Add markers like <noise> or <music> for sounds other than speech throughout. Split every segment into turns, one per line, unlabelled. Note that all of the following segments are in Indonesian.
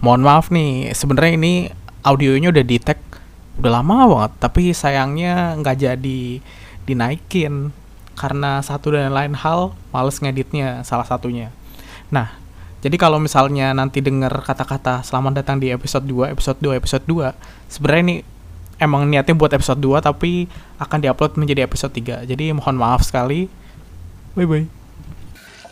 mohon maaf nih, sebenarnya ini audionya udah di tag udah lama banget, tapi sayangnya nggak jadi dinaikin karena satu dan lain hal males ngeditnya salah satunya. Nah, jadi kalau misalnya nanti denger kata-kata selamat datang di episode 2, episode 2, episode 2, sebenarnya ini emang niatnya buat episode 2 tapi akan diupload menjadi episode 3. Jadi mohon maaf sekali. Bye bye.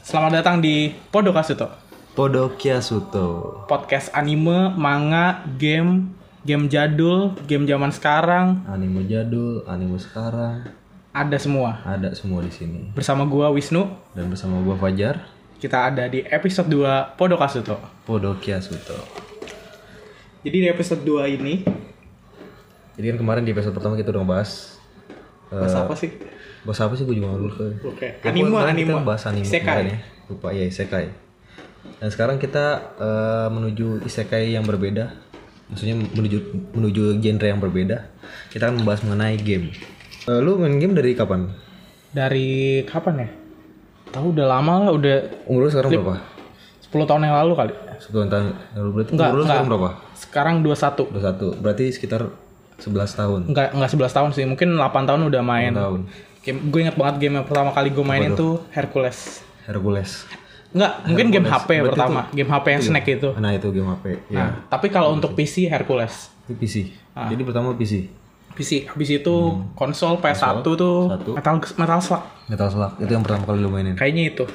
Selamat datang di Podokasuto,
Podokia Suto.
podcast anime, manga, game, game jadul, game zaman sekarang,
Anime jadul, anime sekarang,
ada semua.
ada semua di sini.
Bersama gua Wisnu,
Dan bersama gua Fajar,
kita ada di episode 2 Podokasuto.
Podokia Suto.
Jadi di episode 2 ini
Jadi kan kemarin di episode pertama kita udah ngebahas eh,
bahas apa sih?
bahas apa sih gua juga lupa.
Eh, Oke.
Lupa,
Anime,
kemarin
anime.
Kita bahas anime
Isekai.
kemarin ya. Lupa ya isekai. Dan sekarang kita eh, menuju isekai yang berbeda. Maksudnya menuju menuju genre yang berbeda. Kita akan membahas mengenai game. Eh, lu main game dari kapan?
Dari kapan ya? Tahu udah lama lah, udah
Umur lu sekarang berapa?
10 tahun yang lalu kali.
10 tahun. Lalu berarti
Enggak,
umur lu sekarang berapa?
Sekarang 21.
21 berarti sekitar 11 tahun
Enggak enggak 11 tahun sih, mungkin 8 tahun udah main.
tahun
Game, gue inget banget game yang pertama kali gue mainin tuh Hercules.
Hercules
Enggak, mungkin game HP pertama, game HP yang snack itu.
nah itu game HP ya
Nah, tapi kalau untuk PC Hercules.
itu PC jadi pertama PC
PC habis itu konsol PS1 tuh
satu.
Metal Metal Slug
Metal Slug itu yang pertama kali lu mainin oke
kayaknya itu.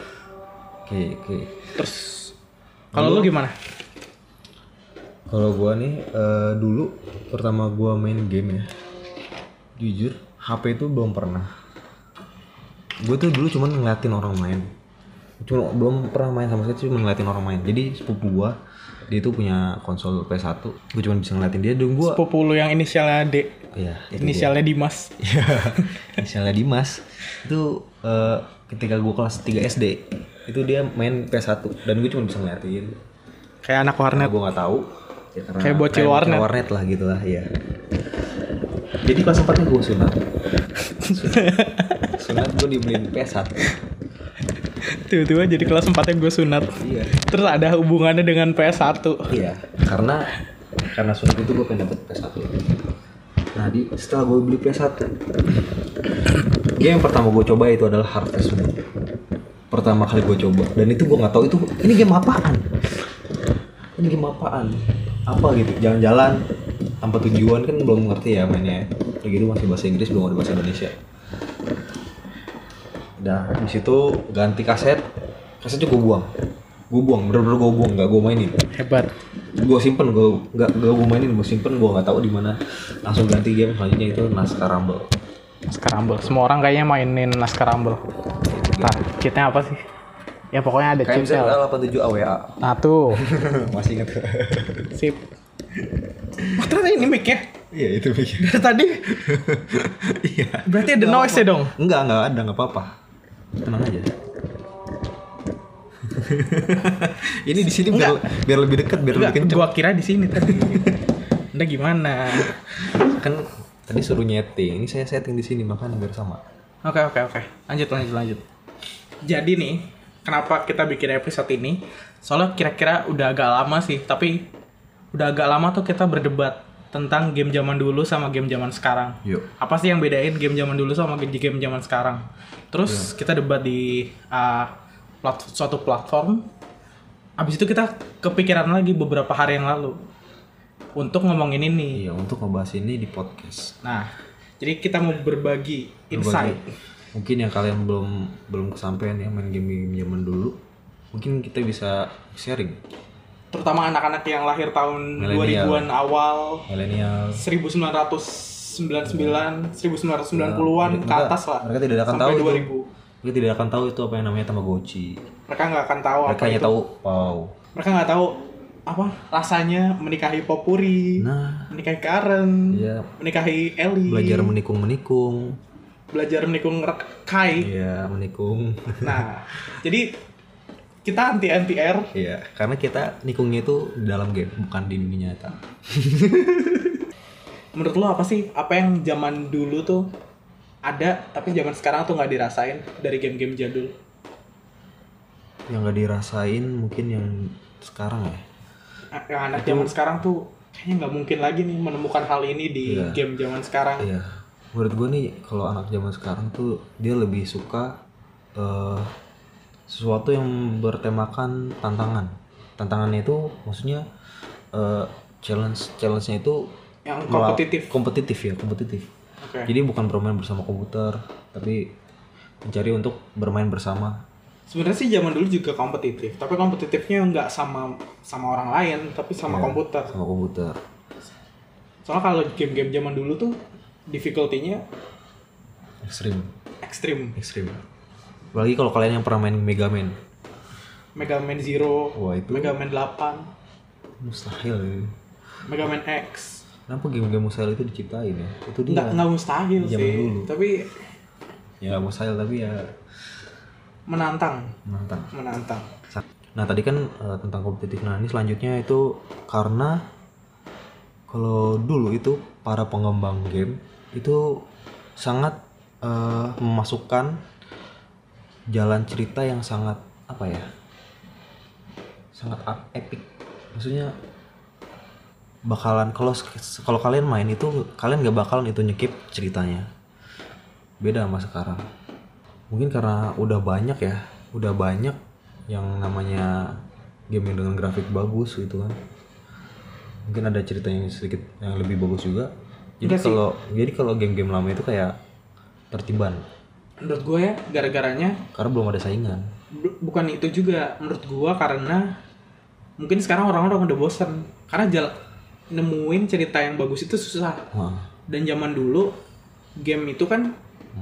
oke
Terus kalau lu gimana?
kalau gua nih eh, dulu pertama gua main game ya jujur HP itu belum pernah gue tuh dulu cuman ngeliatin orang main cuma belum pernah main sama sekali cuma ngeliatin orang main jadi sepupu gua dia tuh punya konsol PS1 gue cuman bisa ngeliatin dia dong gua
Sepupu lu yang inisialnya D,
Iya, itu dia.
inisialnya Dimas.
Iya. Misalnya Dimas itu eh, ketika gue kelas 3 SD itu dia main PS1 dan gue cuma bisa ngeliatin.
Kayak anak warnet.
Karena gue nggak tahu. Ya, karena
Kayak bocil warnet.
warnet lah gitu lah ya. Jadi kelas 4 gue sunat.
<laughs>
sunat. sunat gue dibeliin PS1.
Tiba-tiba jadi kelas 4 yang gue sunat.
Iya.
Terus ada hubungannya dengan PS1.
Iya, karena karena sunat itu gue pengen dapet PS1. Nah, di, setelah gue beli PS1, game yang pertama gue coba itu adalah Harvest Moon. Pertama kali gue coba, dan itu gue nggak tahu itu ini game apaan. Ini game apaan? Apa gitu? Jalan-jalan tanpa tujuan kan belum ngerti ya mainnya. Lagi itu masih bahasa Inggris belum ada bahasa Indonesia. Nah, di situ ganti kaset, kasetnya gue buang. Gue buang, bener-bener gue buang, nggak gue mainin
Hebat.
gue simpen gue nggak gak gue mainin gue simpen gue nggak tahu di mana langsung ganti game selanjutnya itu Naskah Rumble
Naskah Rumble. Semua orang kayaknya mainin Naskah Rumble. Nah, cheatnya apa sih? Ya pokoknya ada cheatnya. lah.
KMZ
<laughs>
87 AWA
Nah tuh.
masih inget
Sip. Oh, ternyata ini mic-nya.
<laughs> iya itu bikin
Dari tadi.
<laughs> iya
Berarti ada noise ya dong?
enggak enggak ada nggak apa-apa tenang aja <laughs> ini di sini biar biar lebih dekat biar lebih
Enggak,
kenceng
gua kira di sini tadi. Anda gimana?
kan tadi suruh nyeting ini saya setting di sini makanya biar sama
Oke, oke, oke. Lanjut, lanjut, lanjut. Jadi nih, kenapa kita bikin episode ini? Soalnya kira-kira udah agak lama sih, tapi udah agak lama tuh kita berdebat tentang game zaman dulu sama game zaman sekarang.
yuk
Apa sih yang bedain game zaman dulu sama game game zaman sekarang? Terus kita debat di uh, plat- suatu platform. Abis itu kita kepikiran lagi beberapa hari yang lalu untuk ngomongin ini.
iya untuk ngebahas ini di podcast
Nah, jadi kita mau berbagi insight.
mungkin yang kalian belum belum kesampaian ya main game-game zaman dulu mungkin kita bisa sharing
terutama anak-anak yang lahir tahun
Milenial.
2000-an awal
milenial
1999 1990-an
Mereka-
ke atas lah
mereka tidak akan
sampai
tahu itu.
2000
mereka tidak akan tahu itu apa yang namanya tamagotchi
mereka nggak akan tahu Oh,
mereka
apa
hanya
itu
tahu wow
mereka nggak tahu apa rasanya menikahi Popuri
nah
menikahi Karen
ya
menikahi Ellie
belajar menikung menikung
belajar menikung rek- Kai
ya menikung <laughs>
nah jadi kita anti NTR
ya karena kita nikungnya itu di dalam game bukan di dunia nyata
menurut lo apa sih apa yang zaman dulu tuh ada tapi zaman sekarang tuh nggak dirasain dari game-game jadul
yang gak dirasain mungkin yang sekarang ya
yang anak zaman sekarang tuh kayaknya nggak mungkin lagi nih menemukan hal ini di
Iya.
game zaman sekarang.
Iya. Menurut gue nih kalau anak zaman sekarang tuh dia lebih suka eh, sesuatu yang bertemakan tantangan. Tantangannya itu maksudnya eh, challenge challenge-nya itu
Yang
mela-
kompetitif.
Kompetitif ya, kompetitif.
Oke.
Jadi bukan bermain bersama komputer, tapi mencari untuk bermain bersama.
Sebenarnya sih zaman dulu juga kompetitif, tapi kompetitifnya nggak sama sama orang lain, tapi sama
Iya.
komputer.
Sama komputer.
Soalnya kalau game-game zaman dulu tuh difficulty-nya
Ekstrim,
ekstrim.
ekstrim. Apalagi kalau kalian yang pernah main Mega Man.
Mega Man Zero,
Wah, itu-
Mega Man 8,
Mustahil. ya.
Mega Man X.
Kenapa game-game mustahil itu diciptain ya? Itu dia.
Nggak nggak mustahil
Iya, Zaman
sih,
dulu.
tapi
ya nggak mustahil tapi ya
menantang,
menantang
menantang.
nah tadi kan eh, tentang kompetitif nah ini selanjutnya itu karena kalau dulu itu para pengembang game itu sangat eh, memasukkan jalan cerita yang sangat apa ya sangat ap- epic maksudnya bakalan kalau kalau kalian main itu kalian nggak bakalan itu nyekip ceritanya beda sama sekarang mungkin karena udah banyak ya udah banyak yang namanya game yang dengan grafik bagus gitu kan mungkin ada cerita yang sedikit yang lebih bagus juga jadi
Enggak sih.
kalau jadi kalau game-game lama itu kayak tertiban
Menurut gue ya, gara-garanya
karena belum ada saingan
Bu- bukan itu juga menurut gua karena mungkin sekarang orang-orang udah bosen karena jal- nemuin cerita yang bagus itu susah
Wah,
dan zaman dulu game itu kan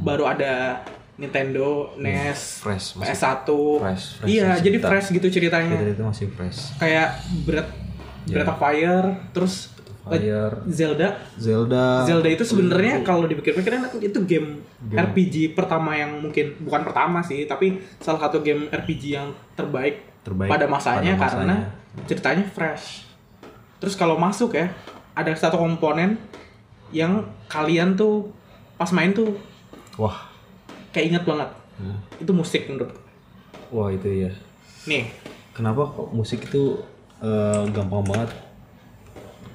baru ada Nintendo E NES
Hmm. fresh masih
PS1
fresh, fresh
iya
masih
jadi
kita.
fresh gitu ceritanya
cerita itu masih fresh
kayak Breath Breath of Fire terus
Iya. Fire
Zelda
Zelda
Zelda itu
Hmm.
sebenarnya kalau dipikir-pikir kan itu game, RPG pertama yang mungkin bukan pertama sih, tapi salah satu game RPG yang terbaik,
Terbaik
pada masanya
pada
karena
masanya.
ceritanya fresh. Terus kalau masuk ya, ada satu komponen yang kalian tuh pas main tuh
wah
kayak inget banget.
Hmm.
Itu musik menurut gue.
wah itu ya
Nih,
kenapa kok musik itu eh, gampang banget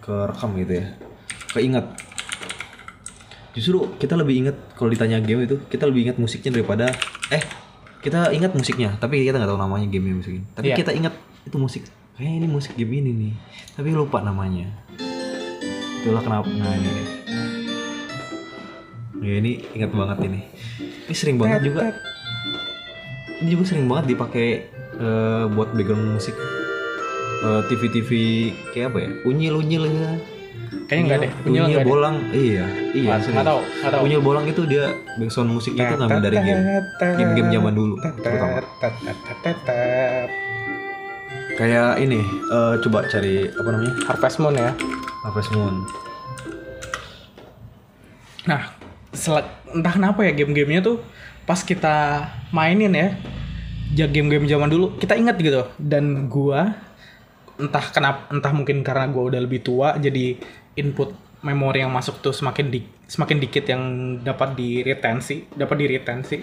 kerekam gitu ya keinget justru kita lebih inget kalau ditanya game itu kita lebih ingat musiknya daripada eh kita ingat musiknya tapi kita nggak tahu namanya game yang musikin tapi
Iya.
kita ingat itu musik kayaknya ini musik game ini nih tapi lupa namanya itulah kenapa nah ini nih. ya ini ingat banget ini ini sering banget juga
tet,
ini juga sering banget dipakai eh, buat background musik Eh, TV-TV kayak apa ya unyil unyil gitu kan.
Kayaknya nggak deh, unyil
unyil,
nggak deh.
bolang iya iya
Nggak- nggak tahu, nggak tahu.
unyil bolang itu dia background musiknya itu ngambil dari game game-game zaman dulu terutama
tet, tet, tet, tet, tet.
kayak ini eh, coba cari apa namanya
Harvest Moon ya.
Harvest Moon
Nah, sel- entah kenapa ya game-gamenya tuh pas kita mainin ya, ja- game-game zaman dulu kita ingat gitu. Dan gua entah kenapa entah mungkin karena gua udah lebih tua jadi input memori yang masuk tuh semakin di, semakin dikit yang dapat diretensi, dapat diretensi,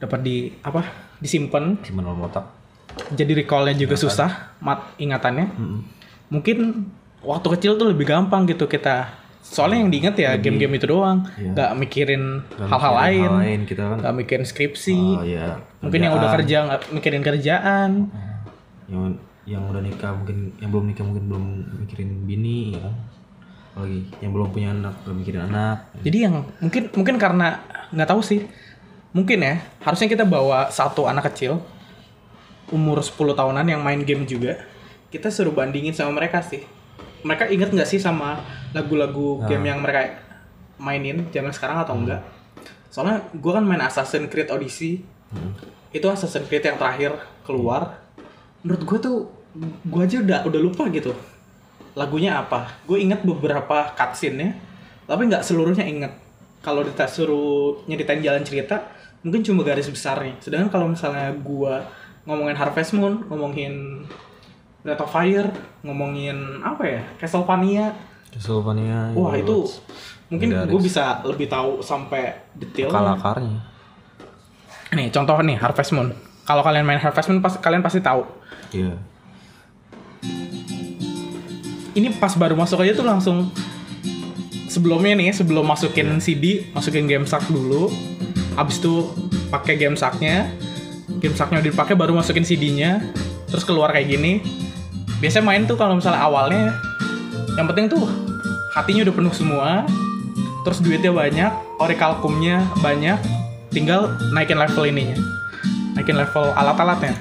dapat di apa? disimpan.
gimana lo otak
Jadi recallnya juga susah, mat ingatannya
Mm-mm.
mungkin waktu kecil tuh lebih gampang gitu kita soalnya yang diinget ya game-game itu doang
Iya.
nggak mikirin
Dan
hal-hal
mikirin
lain
hal lain kita kan
nggak mikirin skripsi
oh, iya.
mungkin yang udah
Kerjaan.
kerja nggak mikirin kerjaan
yang yang udah nikah mungkin yang belum nikah mungkin belum mikirin bini ya kan apalagi yang belum punya anak belum mikirin anak
jadi yang mungkin mungkin karena nggak tahu sih mungkin ya harusnya kita bawa satu anak kecil umur 10 tahunan yang main game juga kita suruh bandingin sama mereka sih mereka inget nggak sih sama lagu-lagu game yang mereka mainin zaman sekarang atau enggak soalnya gua kan main Assassin's Creed Odyssey itu Assassin's Creed yang terakhir keluar menurut gue tuh gue aja udah udah lupa gitu lagunya apa gue inget beberapa cutscene nya tapi nggak seluruhnya inget kalau kita suruh nyeritain jalan cerita mungkin cuma garis besarnya sedangkan kalau misalnya gue ngomongin Harvest Moon ngomongin Breath of Fire ngomongin apa ya Castlevania
Castlevania
wah
ya,
itu mungkin
Garis.
gue bisa lebih tahu sampai detail
akar-akarnya
nih contoh nih Harvest Moon kalau kalian main Harvest Moon pas, kalian pasti tahu
iya
ini pas baru masuk aja tuh langsung sebelumnya nih sebelum masukin CD masukin game sak dulu abis itu pakai game saknya game saknya udah dipakai baru masukin CD-nya terus keluar kayak gini biasanya main tuh kalau misalnya awalnya yang penting tuh hatinya udah penuh semua terus duitnya banyak orikalkumnya banyak tinggal naikin level ininya naikin level alat-alatnya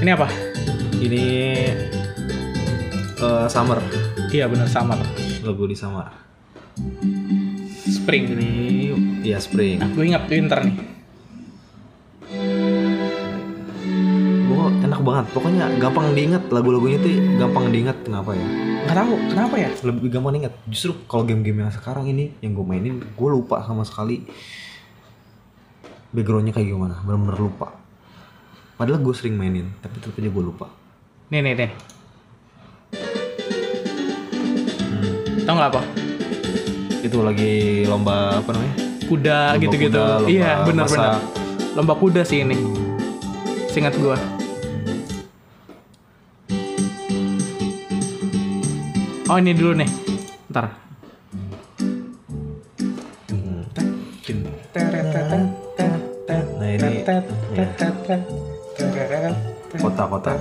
ini apa
Ini eh, Summer,
iya bener sama
lagu di Summer.
spring
Ini ya Spring.
gue ingat winter nih
Gua enak banget. Pokoknya gampang diingat lagu-lagunya tuh gampang diingat kenapa ya?
nggak tahu kenapa ya
Lebih gampang diingat. Justru kalau game-game yang sekarang ini yang gue mainin, gue lupa sama sekali backgroundnya kayak gimana. Bener-bener lupa. Padahal gue sering mainin, tapi tetap aja gue lupa.
nih nih nih
Hmm.
tau nggak apa
Itu lagi lomba apa namanya?
kuda
Lomba
gitu-gitu
kuda, lomba
iya
masak.
benar-benar lomba kuda sih ini singkat gua oh ini dulu nih ntar
Hmm. Nah, ini, ya. Kota-kota.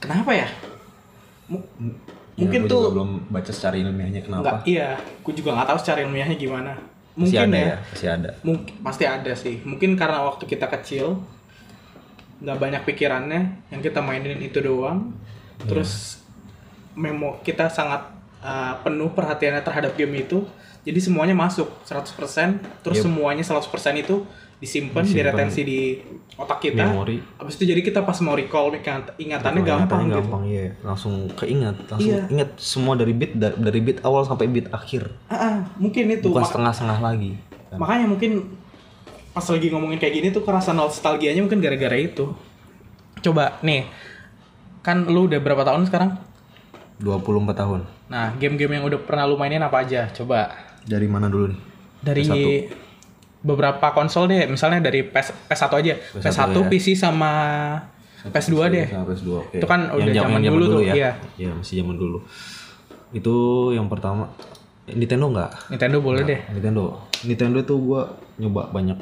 kenapa ya M- mungkin
Ya, gua
tuh
juga belum baca secara ilmiahnya
nggak
kenapa.
iya gue juga nggak tahu secara ilmiahnya gimana
Masih
mungkin
ada
ya,
ya, masih ada.
mungkin pasti ada sih mungkin karena waktu kita kecil nggak banyak pikirannya yang kita mainin itu doang
Iya.
terus memo kita sangat uh, penuh perhatiannya terhadap game itu jadi semuanya masuk 100% terus
Yep.
semuanya 100% itu disimpan
Disimpan.
diretensi di otak kita
Memori.
habis itu jadi kita pas mau recall ingat- ingatannya gampang,
Iya, Ingatannya
gitu
gampang ya, langsung keingat, langsung
Iya.
ingat semua dari beat da- dari beat awal sampai beat akhir,
Ah, ah, mungkin itu
bukan
Mak-
setengah-setengah lagi. Kan?
makanya mungkin pas lagi ngomongin kayak gini tuh kerasa nostalgianya mungkin gara-gara itu coba nih kan lu udah berapa tahun sekarang
24 tahun.
nah game-game yang udah pernah lu mainin apa aja coba
Dari mana dulu nih?
dari
PS1.
beberapa konsol deh misalnya dari PS, PS1 aja PS1,
ya.
PC sama PS2 deh
Sama PS2. oke.
Itu kan udah
jam-
zaman dulu tuh,
ya.
iya.
Iya, masih zaman dulu. Itu yang pertama Nintendo nggak?
Nintendo boleh deh
Nintendo. Nintendo tuh gua nyoba banyak.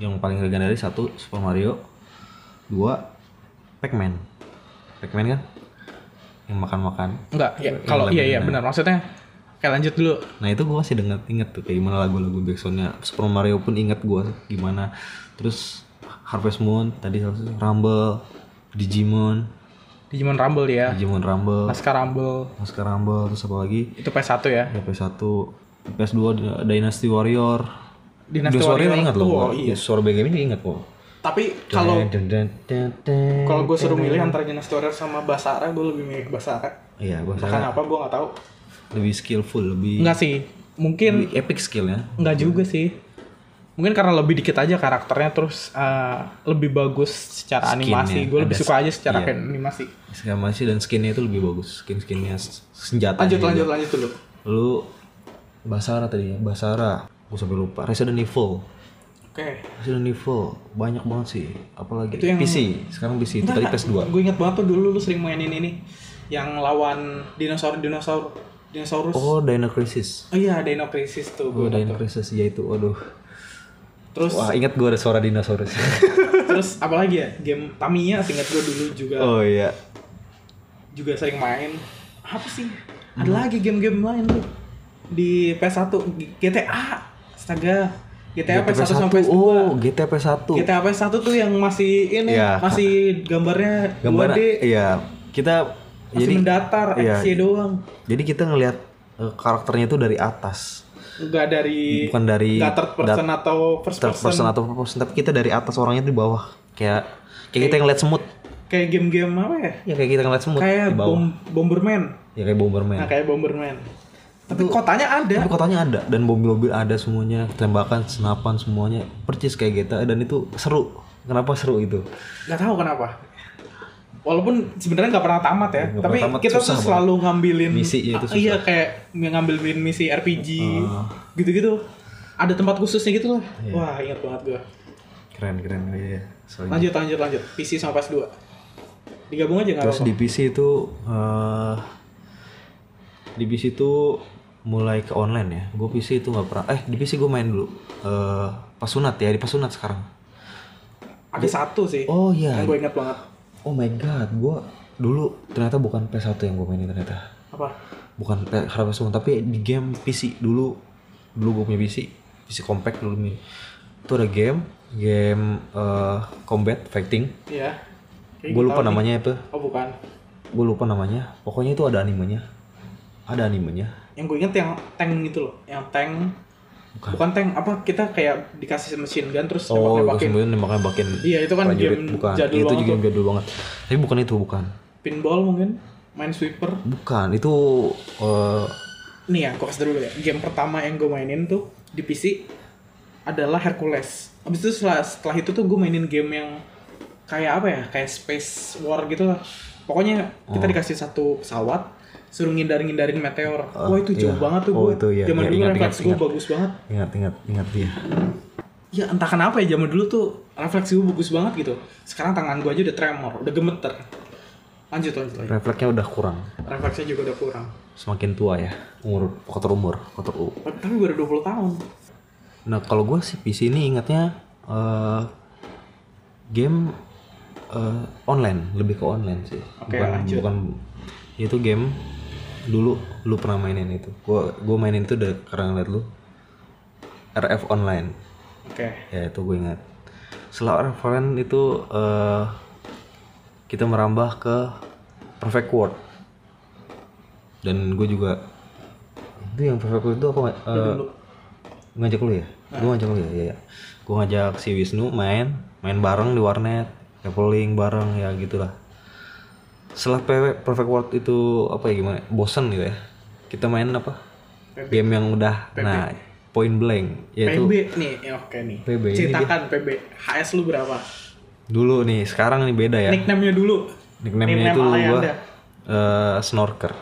Yang paling legendaris satu Super Mario, dua Pac-Man. Pac-Man kan? Yang makan-makan.
enggak ya, kalau iya iya benar maksudnya kayak lanjut dulu
Nah itu gue masih dengar inget tuh kayak gimana lagu-lagu backsoundnya Super Mario pun inget gue gimana. Terus Harvest Moon tadi satu- Rumble, Digimon,
Digimon Rumble ya
Digimon Rumble,
Naskah Rumble
Masker Rumble, terus apa lagi?
itu PS1 ya
Ya, PS1, PS2 Di- Dynasty Warrior.
Dynasty Warrior
inget loh.
tuh,
gua.
oh,
Dinosaur Warrior ini inget kok.
tapi kalau Kalau gue suruh milih antara Dynasty Warrior sama Basara, gue lebih milih Basara.
Iya, gue
Karena apa gue nggak tahu.
lebih skillful, lebih,
Enggak sih, mungkin
lebih epic skill ya.
nggak juga sih. Mungkin karena lebih dikit aja karakternya terus eh, lebih bagus secara
Skinnya,
animasi. Gue lebih
ada
suka aja secara
iya.
kayak animasi.
Sama sih dan skinnya itu lebih bagus. Skin-skinnya senjata.
Lanjut lanjut lanjut dulu.
Lu Basara tadi ya, Basara. Gue sampai lupa. Resident Evil.
Oke.
Resident Evil banyak banget sih. Apalagi
Itu yang-
PC. Sekarang PC itu tadi PS2.
Gue inget Nah, banget tuh dulu lu sering mainin ini yang lawan dinosaur dinosaur dinosaurus. Oh,
Oh, Dino Crisis.
iya Dino Crisis tuh
Oh,
gue.
Dino Crisis ya itu. Aduh.
Terus
Wah, ingat gue ada suara dinosaurus.
terus apalagi ya game Tamiya singkat gue dulu juga
<laughs> oh iya.
juga sering main apa sih ada
Hmm.
lagi game-game lain tuh di PS1 G- GTA astaga GTA, PS1 sama PS2
Oh, GTA PS1.
GTA PS1 tuh yang masih ini
Iya.
masih gambarnya
Gambar
2D
iya. Kita
masih
jadi
mendatar
iya.
aksi doang
jadi kita ngelihat eh, karakternya itu dari atas.
nggak dari
Bukan dari
nggak third person atau first
third
person,
person atau first person, tapi kita dari atas orangnya di bawah. Kayak kayak kita ngeliat semut.
kayak game-game apa ya
Ya kayak kita ngeliat semut
kayak
di bawah.
bom Bomberman
Ya kayak Bomberman.
nah kayak Bomberman tapi kotanya ada
Tapi kotanya ada dan mobil-mobil ada semuanya, tembakan, senapan semuanya, percis kayak GTA dan itu seru. Kenapa seru itu?
nggak tahu kenapa walaupun sebenarnya nggak pernah tamat ya
Nggak
tapi
pernah tamat,
kita
susah
tuh
banget.
selalu ngambilin
Misinya itu Ah.
Ah, iya kayak ngambilin misi RPG gitu-gitu ada tempat khususnya gitu lah wah ingat banget gua
keren keren iya Soalnya-
Lanjut lanjut lanjut. PC sama PS2. Digabung aja nggak
Terus
apa-apa.
di PC itu eh di PC itu mulai ke online ya. Gue PC itu nggak pernah. Eh di PC gue main dulu. eh pas sunat ya di pas sunat sekarang.
Ada satu sih.
Oh iya.
Yang gue ingat banget.
Oh my god, gue dulu ternyata bukan PS1 yang gue mainin ternyata.
Apa?
Bukan P- Harvest Moon tapi di game PC dulu dulu gue punya PC PC compact dulu nih. Itu ada game game eh combat fighting.
Iya. Kayaknya
Gue
gua
lupa
tahu nih.
namanya apa.
Oh bukan.
Gue lupa namanya. Pokoknya itu ada animenya. Ada animenya.
Yang gue inget yang tank gitu loh. Yang tank.
Bukan.
Bukan tank apa kita kayak dikasih machine gun terus
Oh, gue
nembak-nembakin
sebutin nembakin nembakin.
Iya, itu kan
prajurit.
game
bukan.
jadul
itu
banget
juga
tuh.
jadul banget. Tapi bukan itu, bukan.
pinball mungkin. Main sweeper.
Bukan, itu eh,
Nih ya, gue kasih dulu ya. Game pertama yang gue mainin tuh di PC adalah Hercules. Abis itu setelah, setelah itu tuh gue mainin game yang kayak apa ya, kayak Space War gitu lah. Pokoknya kita dikasih satu pesawat, suruh ngindar-ngindarin meteor.
Oh,
Wah itu jauh
iya.
banget tuh
Oh,
gue.
itu iya.
Zaman
Iya,
dulu
ingat,
refleks
ingat,
gue
ingat.
bagus banget.
ingat ingat ingat dia.
Ya entah kenapa ya, zaman dulu tuh refleks gue bagus banget gitu. Sekarang tangan gue aja udah tremor, udah gemeter. Lanjut lanjut lagi.
Refleksnya udah kurang.
Refleksnya juga udah kurang.
Semakin tua ya, umur kotor umur, kotor u.
Tapi gue udah 20 tahun.
Nah, kalau gue sih PC ini ingatnya eh, game eh, online, lebih ke online sih.
Oke,
bukan,
lanjut.
bukan itu game dulu lu pernah mainin itu. Gua gua mainin itu udah karena ngeliat lu. RF online.
Oke.
Ya itu gue ingat. Setelah Revenant itu eh, kita merambah ke Perfect World. Dan gue juga itu yang Perfect World itu apa? eh, ngajak lu ya? Gue ngajak lu ya, ya, ya. Gue ngajak si Wisnu main, main bareng di warnet, traveling bareng ya gitulah. Setelah PW Perfect World itu apa ya gimana? Bosen gitu ya. Kita main apa? Game yang udah nah point blank yaitu
PB nih, ya oke nih.
PB, ini
Ceritakan PB. HS lu berapa?
Dulu nih, sekarang nih beda ya.
Nickname-nya dulu.
Nickname-nya
nickname
itu
alay
gua
Anda.
eh, snorker.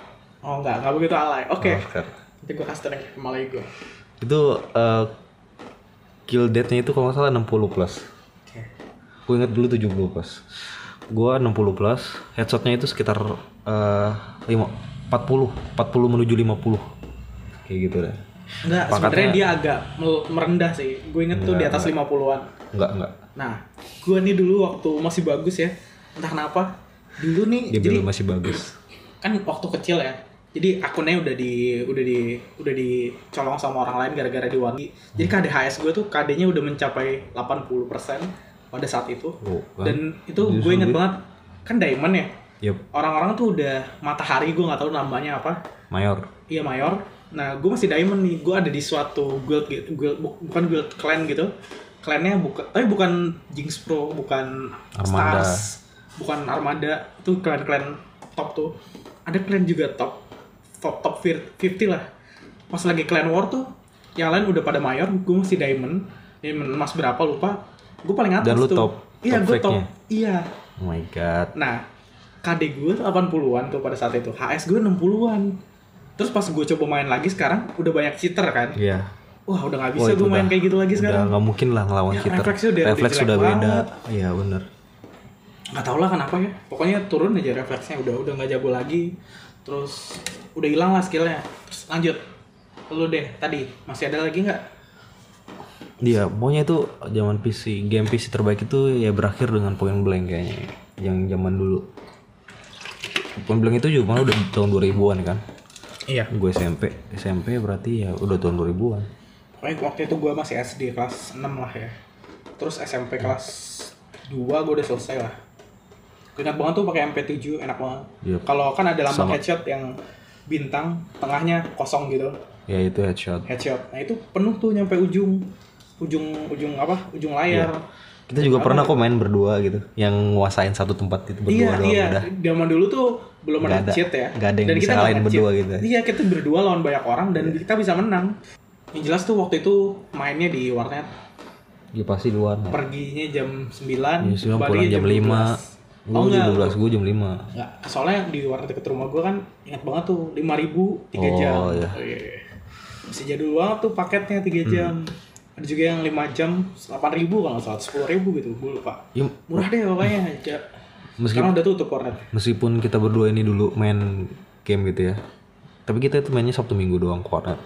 Oh enggak, enggak begitu alay. Oke.
Snorker.
Nanti gue kasih tau nickname alay gue.
Itu eh, kill death-nya itu kalau nggak salah 60 plus.
Oke.
Gue inget dulu 70 plus. Gua 60 plus, headshotnya itu sekitar eh, lima- 40, 40 menuju 50. Kayak gitu deh.
Enggak,
Pangkatnya-
sebenarnya dia agak mel- merendah sih. Gue inget tuh di
Iya.
atas 50-an.
Enggak, enggak.
Nah, gue nih dulu waktu masih bagus ya. Entah kenapa. Dulu nih,
Dia
jadi
bilang masih bagus.
kan waktu kecil ya. Jadi akunnya udah di udah di udah dicolong sama orang lain gara-gara di warni. Jadi KDHS gue tuh KD-nya udah mencapai 80% pada saat itu.
Oh, kan?
Dan itu gue inget banget kan diamond ya.
Yep,
Orang-orang tuh udah matahari gue nggak tahu namanya apa.
mayor.
Iya mayor. Nah gue masih diamond nih. Gue ada di suatu guild, gitu- guild bu- bukan guild clan gitu. Clannya bukan, tapi bukan Jinx Pro, bukan
Armada.
Stars, bukan Armada. Itu clan-clan top tuh. Ada clan juga top, top top fir- 50 lah. Pas lagi clan war tuh, yang lain udah pada mayor, gue masih diamond. Diamond emas berapa lupa. Gue paling atas
Dan lu
tuh.
top,
Iya
top
gue top.
flag-nya.
Iya.
Oh my god.
Nah, KD gue tuh 80-an tuh pada saat itu. HS gue 60-an. Terus pas gue coba main lagi sekarang, udah banyak cheater kan.
Iya.
Wah, udah nggak
Wah,
bisa
itu
gue main
udah-
kayak gitu lagi
Udah
sekarang.
nggak mungkin lah ngelawan
Ya,
kita.
refleksnya udah- udah
Refleks
jelek
udah beda.
banget.
Iya, bener.
Nggak tau lah kenapa ya. Pokoknya turun aja refleksnya. Udah udah nggak jago lagi. Terus udah hilang lah skillnya. Terus lanjut. Lu deh, tadi. Masih ada lagi nggak?
Iya, pokoknya itu zaman PC, game PC terbaik itu ya berakhir dengan Point Blank kayaknya. Yang zaman dulu. Point Blank itu juga malah udah tahun 2000-an kan.
Iya.
Gue SMP, SMP berarti ya udah tahun 2000-an.
Pokoknya waktu itu gue masih SD kelas 6 lah ya. Terus SMP kelas 2 gue udah selesai lah. Gue Ingat banget tuh pakai MP7 enak banget.
Yep.
Kalau kan ada lambang
Iya. Sama.
headshot yang bintang tengahnya kosong gitu
Ya itu headshot.
headshot. Nah itu penuh tuh nyampe ujung ujung ujung apa ujung layar.
Iya. Kita juga pernah kok main berdua gitu, yang nguasain satu tempat itu
Iya
berdua doang
iya.
udah.
Zaman dulu tuh belum
Nggak
ada
ada-
cheat ya.
nggak ada yang bisa
nggak
ngalahin
nge-cheat.
berdua gitu ya. Iya.
Iya kita berdua lawan banyak orang dan kita bisa menang. Yang jelas tuh waktu itu mainnya di warnet
Ya pasti di warnet.
perginya jam 9,
Ya, sudah pulang jam 5.
12. Oh
Gue jam
enggak,
12, gue jam 5.
enggak. Soalnya di warteg dekat rumah gue kan ingat banget tuh 5000 3 jam.
Oh, iya. Hmm.
iya. Masih jadul banget tuh paketnya 3 jam. ada juga yang 5 jam 8 ribu kalau nggak salah 10 ribu gitu gue lupa
Ya,
murah deh
<laughs>
pokoknya aja
meskipun
sekarang udah tutup warnet
meskipun kita berdua ini dulu main game gitu ya tapi kita itu mainnya sabtu minggu doang kuat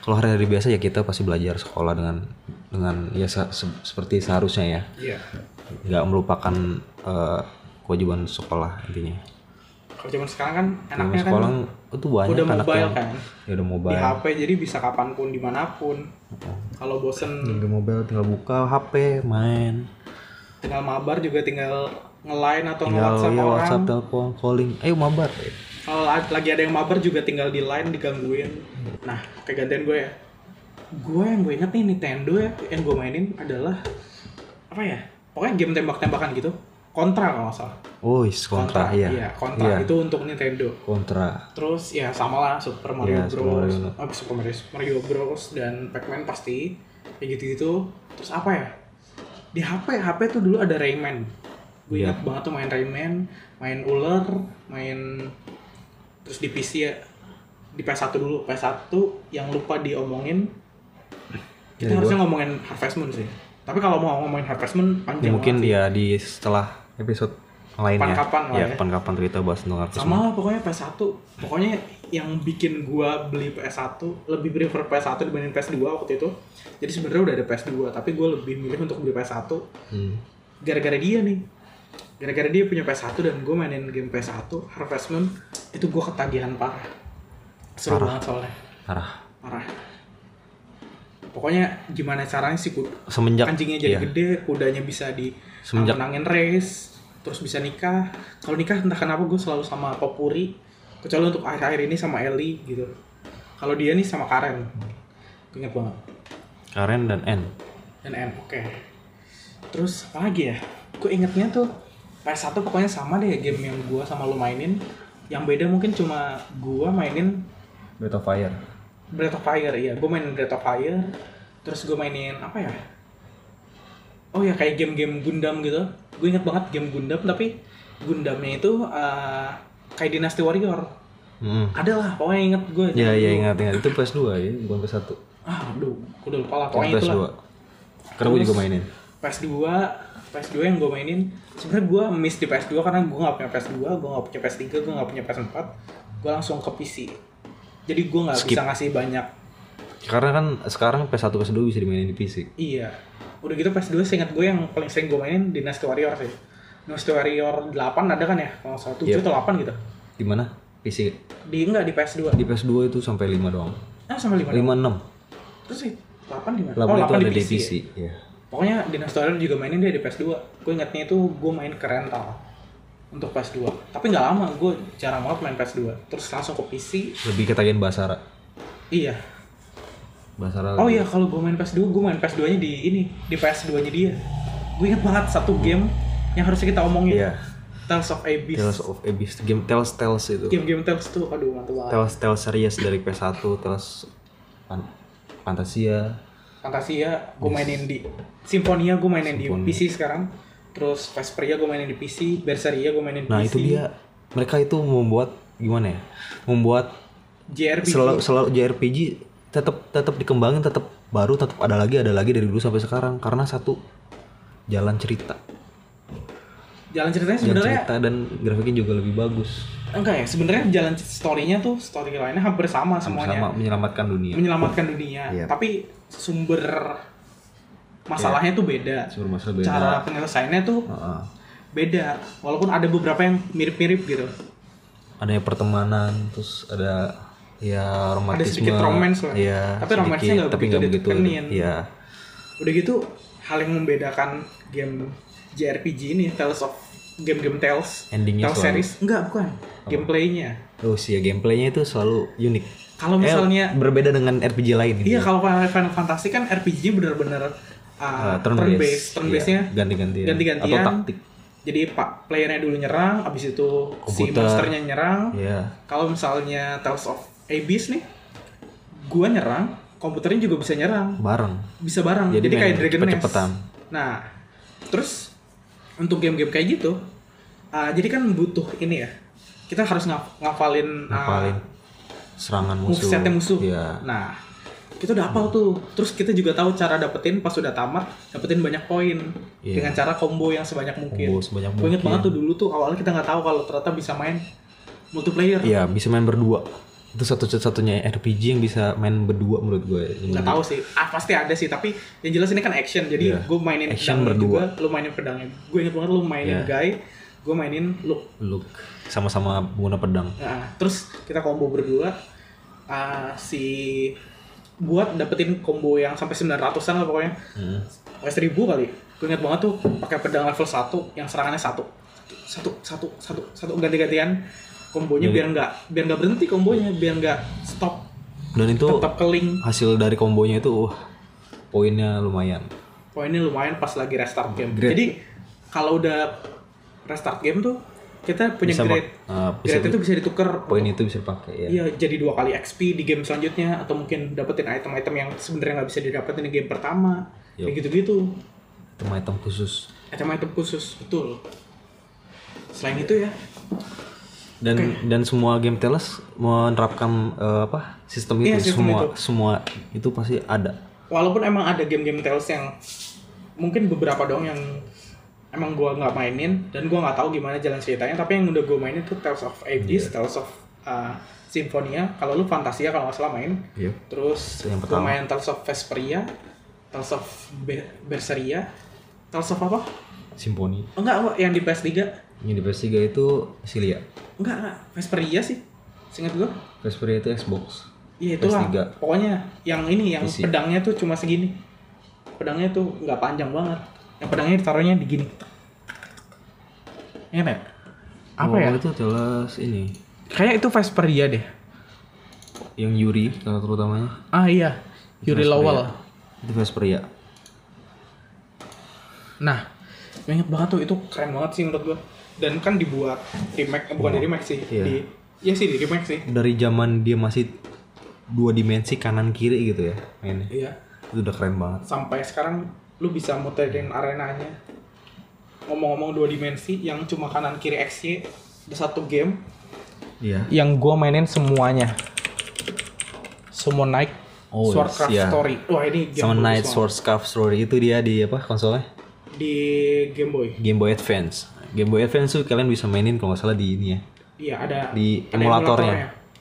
kalau hari-hari biasa ya kita pasti belajar sekolah dengan dengan ya se- se- seperti seharusnya ya
iya
nggak melupakan eh, kewajiban sekolah intinya
kalau zaman sekarang kan
Zaman
enaknya kan
sekolah itu banyak
udah
anak
mobile
yang
kan
ya udah
di
mobile
HP jadi bisa kapanpun dimanapun kalau bosen
udah mobile tinggal buka HP main
tinggal mabar juga tinggal nge-line atau
tinggal
nge-whatsapp
ya
orang
WhatsApp telepon calling ayo mabar
kalau la- lagi ada yang mabar juga tinggal di line digangguin nah kegantian gue ya gue yang gue inget nih Nintendo ya yang gue mainin adalah apa ya pokoknya game tembak-tembakan gitu kontra kalau nggak salah
Woi, kontra, ya.
iya kontra itu untuk Nintendo
kontra.
terus ya sama lah Super Mario
Iya, Super
Bros
Mario.
Ah, Super Mario, Mario Bros dan Pac-Man pasti kayak gitu-gitu terus apa ya di HP HP tuh dulu ada Rayman gue
Iya.
ingat banget tuh main Rayman main ular main terus di PC ya di PS1 dulu PS1 yang lupa diomongin kita
Dari
harusnya ngomongin Harvest Moon sih tapi kalau mau ngomongin Harvest Moon
Ya,
panjang
mungkin
banget sih.
ya di setelah episode lain ya.
Kapan-kapan lah
ya.
ya.
kapan-kapan kita bahas tentang artis.
sama lah pokoknya PS1 pokoknya yang bikin gua beli PS1 lebih prefer PS1 dibanding PS2 waktu itu jadi sebenarnya udah ada PS2 tapi gua lebih milih untuk beli PS1
Hmm.
gara-gara dia nih gara-gara dia punya PS1 dan gua mainin game PS1 Harvest Moon itu gua ketagihan parah seru
Parah.
banget soalnya
Parah.
parah pokoknya gimana caranya sih kuda
Semenjak
anjingnya jadi
iya.
gede kudanya bisa di
Semenjak-
menangin race terus bisa nikah kalau nikah entah kenapa gue selalu sama Popuri kecuali untuk akhir-akhir ini sama Eli gitu kalau dia nih sama Karen gue ingat banget
Karen dan N.
dan M oke terus apa lagi ya gue ingetnya tuh PS1 pokoknya sama deh game yang gue sama lo mainin yang beda mungkin cuma gue mainin
Breath of Fire.
Breath of Fire ya gue mainin Breath of Fire terus gue mainin apa ya oh ya kayak game-game Gundam gitu gue inget banget game Gundam tapi Gundamnya itu eh, kayak Dynasty Warrior
Hmm.
ada lah pokoknya inget gue
Ya, ya ingat ingat itu PS2 ya, bukan PS1.
ah aduh gue udah lupa lah
Itu
pokoknya itu
PS2.
lah
Karena gue
Terus-
juga mainin.
PS2 PS2 yang gue mainin sebenarnya gue miss di PS2 karena gue gak punya PS2 gue gak punya PS3 gue gak punya PS4 gue langsung ke PC jadi gue gak
Skip.
bisa ngasih banyak
Karena kan sekarang PS1 PS2 bisa dimainin di PC.
Iya. Udah gitu PS2 seingat gue yang paling sering gue mainin Dynasty Warrior sih. Dynasty Warrior 8 ada kan ya? Kalau nggak salah 7
Yep.
atau 8 gitu.
Di mana? PC.
Di enggak di PS2.
Di PS2 itu sampai 5 doang.
Ah sama
5
5.
6.
Terus sih 8 Oh, di mana?
8 itu ada di PC.
ya.
Ya.
Pokoknya Dynasty Warrior juga mainin dia di PS2. Gue ingatnya itu gue main ke rental untuk PS2. Tapi nggak lama gue jarang banget main PS2. Terus langsung ke PC.
Lebih ketagihan Basara.
Iya.
Basara.
Oh
lebih-
iya kalau gue main PS2, gue main PS2-nya di ini, di PS2-nya dia. Gue inget banget satu game yang harusnya kita omongin.
Iya.
Tales of Abyss.
Tales of Abyss, game Tales Tales itu.
game-game Tales tuh aduh mantap banget
Tales Tales series dari PS1, Tales Fan- Fantasia.
Fantasia gue mainin di Simfonia gue mainin
Simfonia.
di PC sekarang terus Vesperia gue mainin di PC Berseria gue mainin di
Nah,
PC
itu dia. Mereka itu membuat gimana ya? Membuat
JRPG
selalu selalu JRPG tetap tetap dikembangin, tetap baru, tetap ada lagi, ada lagi dari dulu sampai sekarang karena satu jalan cerita.
jalan ceritanya
Jalan
sebenarnya
cerita dan grafiknya juga lebih bagus.
enggak ya sebenarnya jalan c- story-nya tuh story lainnya hampir sama
Sama
semuanya
menyelamatkan dunia.
menyelamatkan dunia
Iya.
tapi sumber masalahnya tuh beda
Sumber masalah Iya. beda.
cara penyelesaiannya tuh
Heeh.
beda walaupun ada beberapa yang mirip-mirip gitu
Ada yang pertemanan, terus ada ya romantisme.
sedikit romance lah.
Iya,
Tapi romance-nya
sedikit,
nggak
tapi
begitu
nggak begitu.
ditekenin.
Iya.
Udah gitu, hal yang membedakan game JRPG ini, Tales of game-game Tales,
Endingnya
Tales
selalu-
series, enggak bukan, gameplaynya.
Oh sih ya gameplaynya itu selalu unik.
Kalau
Eh,
Oh, misalnya,
berbeda dengan RPG lain. gitu.
iya kalau Final Final Fantasy kan RPG bener-bener uh,
Ah, turn
turn-based,
based.
turn-based-nya
Iya, ganti-gantian.
ganti-gantian.
Atau taktik.
Jadi pak playernya dulu nyerang, abis itu si
Komputer.
monsternya nyerang.
Iya.
Kalau misalnya Tales of Abyss nih, gua nyerang, komputernya juga bisa nyerang.
Bareng.
bisa bareng.
Jadi
Jadi,
main
kayak Dragon Nest.
cepet-cepetan.
Nah, terus untuk game-game kayak gitu, uh, jadi kan butuh ini ya. Kita harus ngaf- ngafalin, uh,
Ngapalin serangan musuh.
movesetnya musuh.
Iya.
Nah, kita udah hafal tuh terus kita juga tahu cara dapetin pas udah tamat dapetin banyak poin
Iya.
dengan cara combo yang sebanyak mungkin
Combo sebanyak
Gua inget
mungkin.
banget tuh dulu tuh awalnya kita nggak tahu kalau ternyata bisa main multiplayer
Iya, bisa main berdua. Itu satu-satunya RPG yang bisa main berdua menurut gue.
nggak tahu sih ah pasti ada sih tapi yang jelas ini kan action jadi
Hmm. Iya.
gue mainin
Action
pedangnya
berdua.
juga lu mainin pedangnya gue inget banget lu mainin
Iya.
guy gue mainin lu
Look, sama-sama menggunakan pedang.
Nah, terus kita combo berdua Ah, si buat dapetin combo yang sampai 900-an lah pokoknya.
Hmm.
Pokoknya 1000 kali. Gue ingat banget tuh pakai pedang level 1 yang serangannya satu. Satu satu satu satu ganti-gantian kombonya
Jadi-
biar nggak biar nggak berhenti kombonya, biar nggak stop,
Dan itu
tetap keling.
hasil dari kombonya itu wah, poinnya lumayan.
Poinnya lumayan pas lagi restart game.
Grade.
Jadi kalau udah restart game tuh kita punya
Bisa
grade.
mak- ah, bisa
grade itu bisa ditukar
poin itu bisa dipakai ya.
Iya, jadi dua kali XP di game selanjutnya atau mungkin dapetin item-item yang sebenarnya nggak bisa didapetin di game pertama.
Yup.
Kayak gitu-gitu.
Item-item khusus.
Item-item khusus, betul. Selain itu ya,
Dan dan semua game teles menerapkan eh, apa sistem itu
Iya, sistem
semua
itu.
semua itu pasti ada.
walaupun emang ada game-game Tales yang mungkin beberapa dong yang emang gua nggak mainin dan gua nggak tahu gimana jalan ceritanya, tapi yang udah gua mainin tuh Tales of
Iya.
Ages, Tales of uh, Symphonia, kalau lu Fantasia kalau nggak salah main,
Iya.
terus
Itu yang
gua
pertama.
main Tales of Vesperia, Tales of Be- Berseria, Tales of apa?
Simfoni.
Enggak, kok, yang di PS3.
Yang di PS3 itu Silia.
Enggak, enggak. Vesperia sih. Seingat gua.
PS3 itu Xbox.
Iya, itulah.
PS3.
Pokoknya yang ini yang
Isi.
pedangnya tuh cuma segini. Pedangnya tuh nggak panjang banget. Yang pedangnya ditaruhnya di gini. Ingat ya? Apa
Oh,
ya?
Itu teles ini.
Kayak itu Vesperia deh.
Yang Yuri kalau terutamanya.
Ah iya, Yuri
Vesperia.
Lowell.
Itu Vesperia.
Nah, gue inget banget tuh itu keren banget sih menurut gua. Dan kan dibuat remake, eh, bukan di remake sih.
Iya.
Di, iya sih di remake sih.
Dari zaman dia masih dua dimensi kanan kiri gitu ya mainnya.
Iya.
Itu udah keren banget.
sampai sekarang lu bisa muterin arenanya ngomong-ngomong dua dimensi yang cuma kanan kiri XY ada satu game
Iya.
yang gua mainin semuanya semua naik
Oh,
Swordcraft
iya.
Story wah ini game
Sama
bagus
Night
banget.
Sword Scarf Story itu dia di apa konsolnya?
di Game Boy
Game Boy Advance. Game Boy Advance tuh kalian bisa mainin kalau nggak salah di ini ya,
iya ada
di
ada ya?
emulatornya.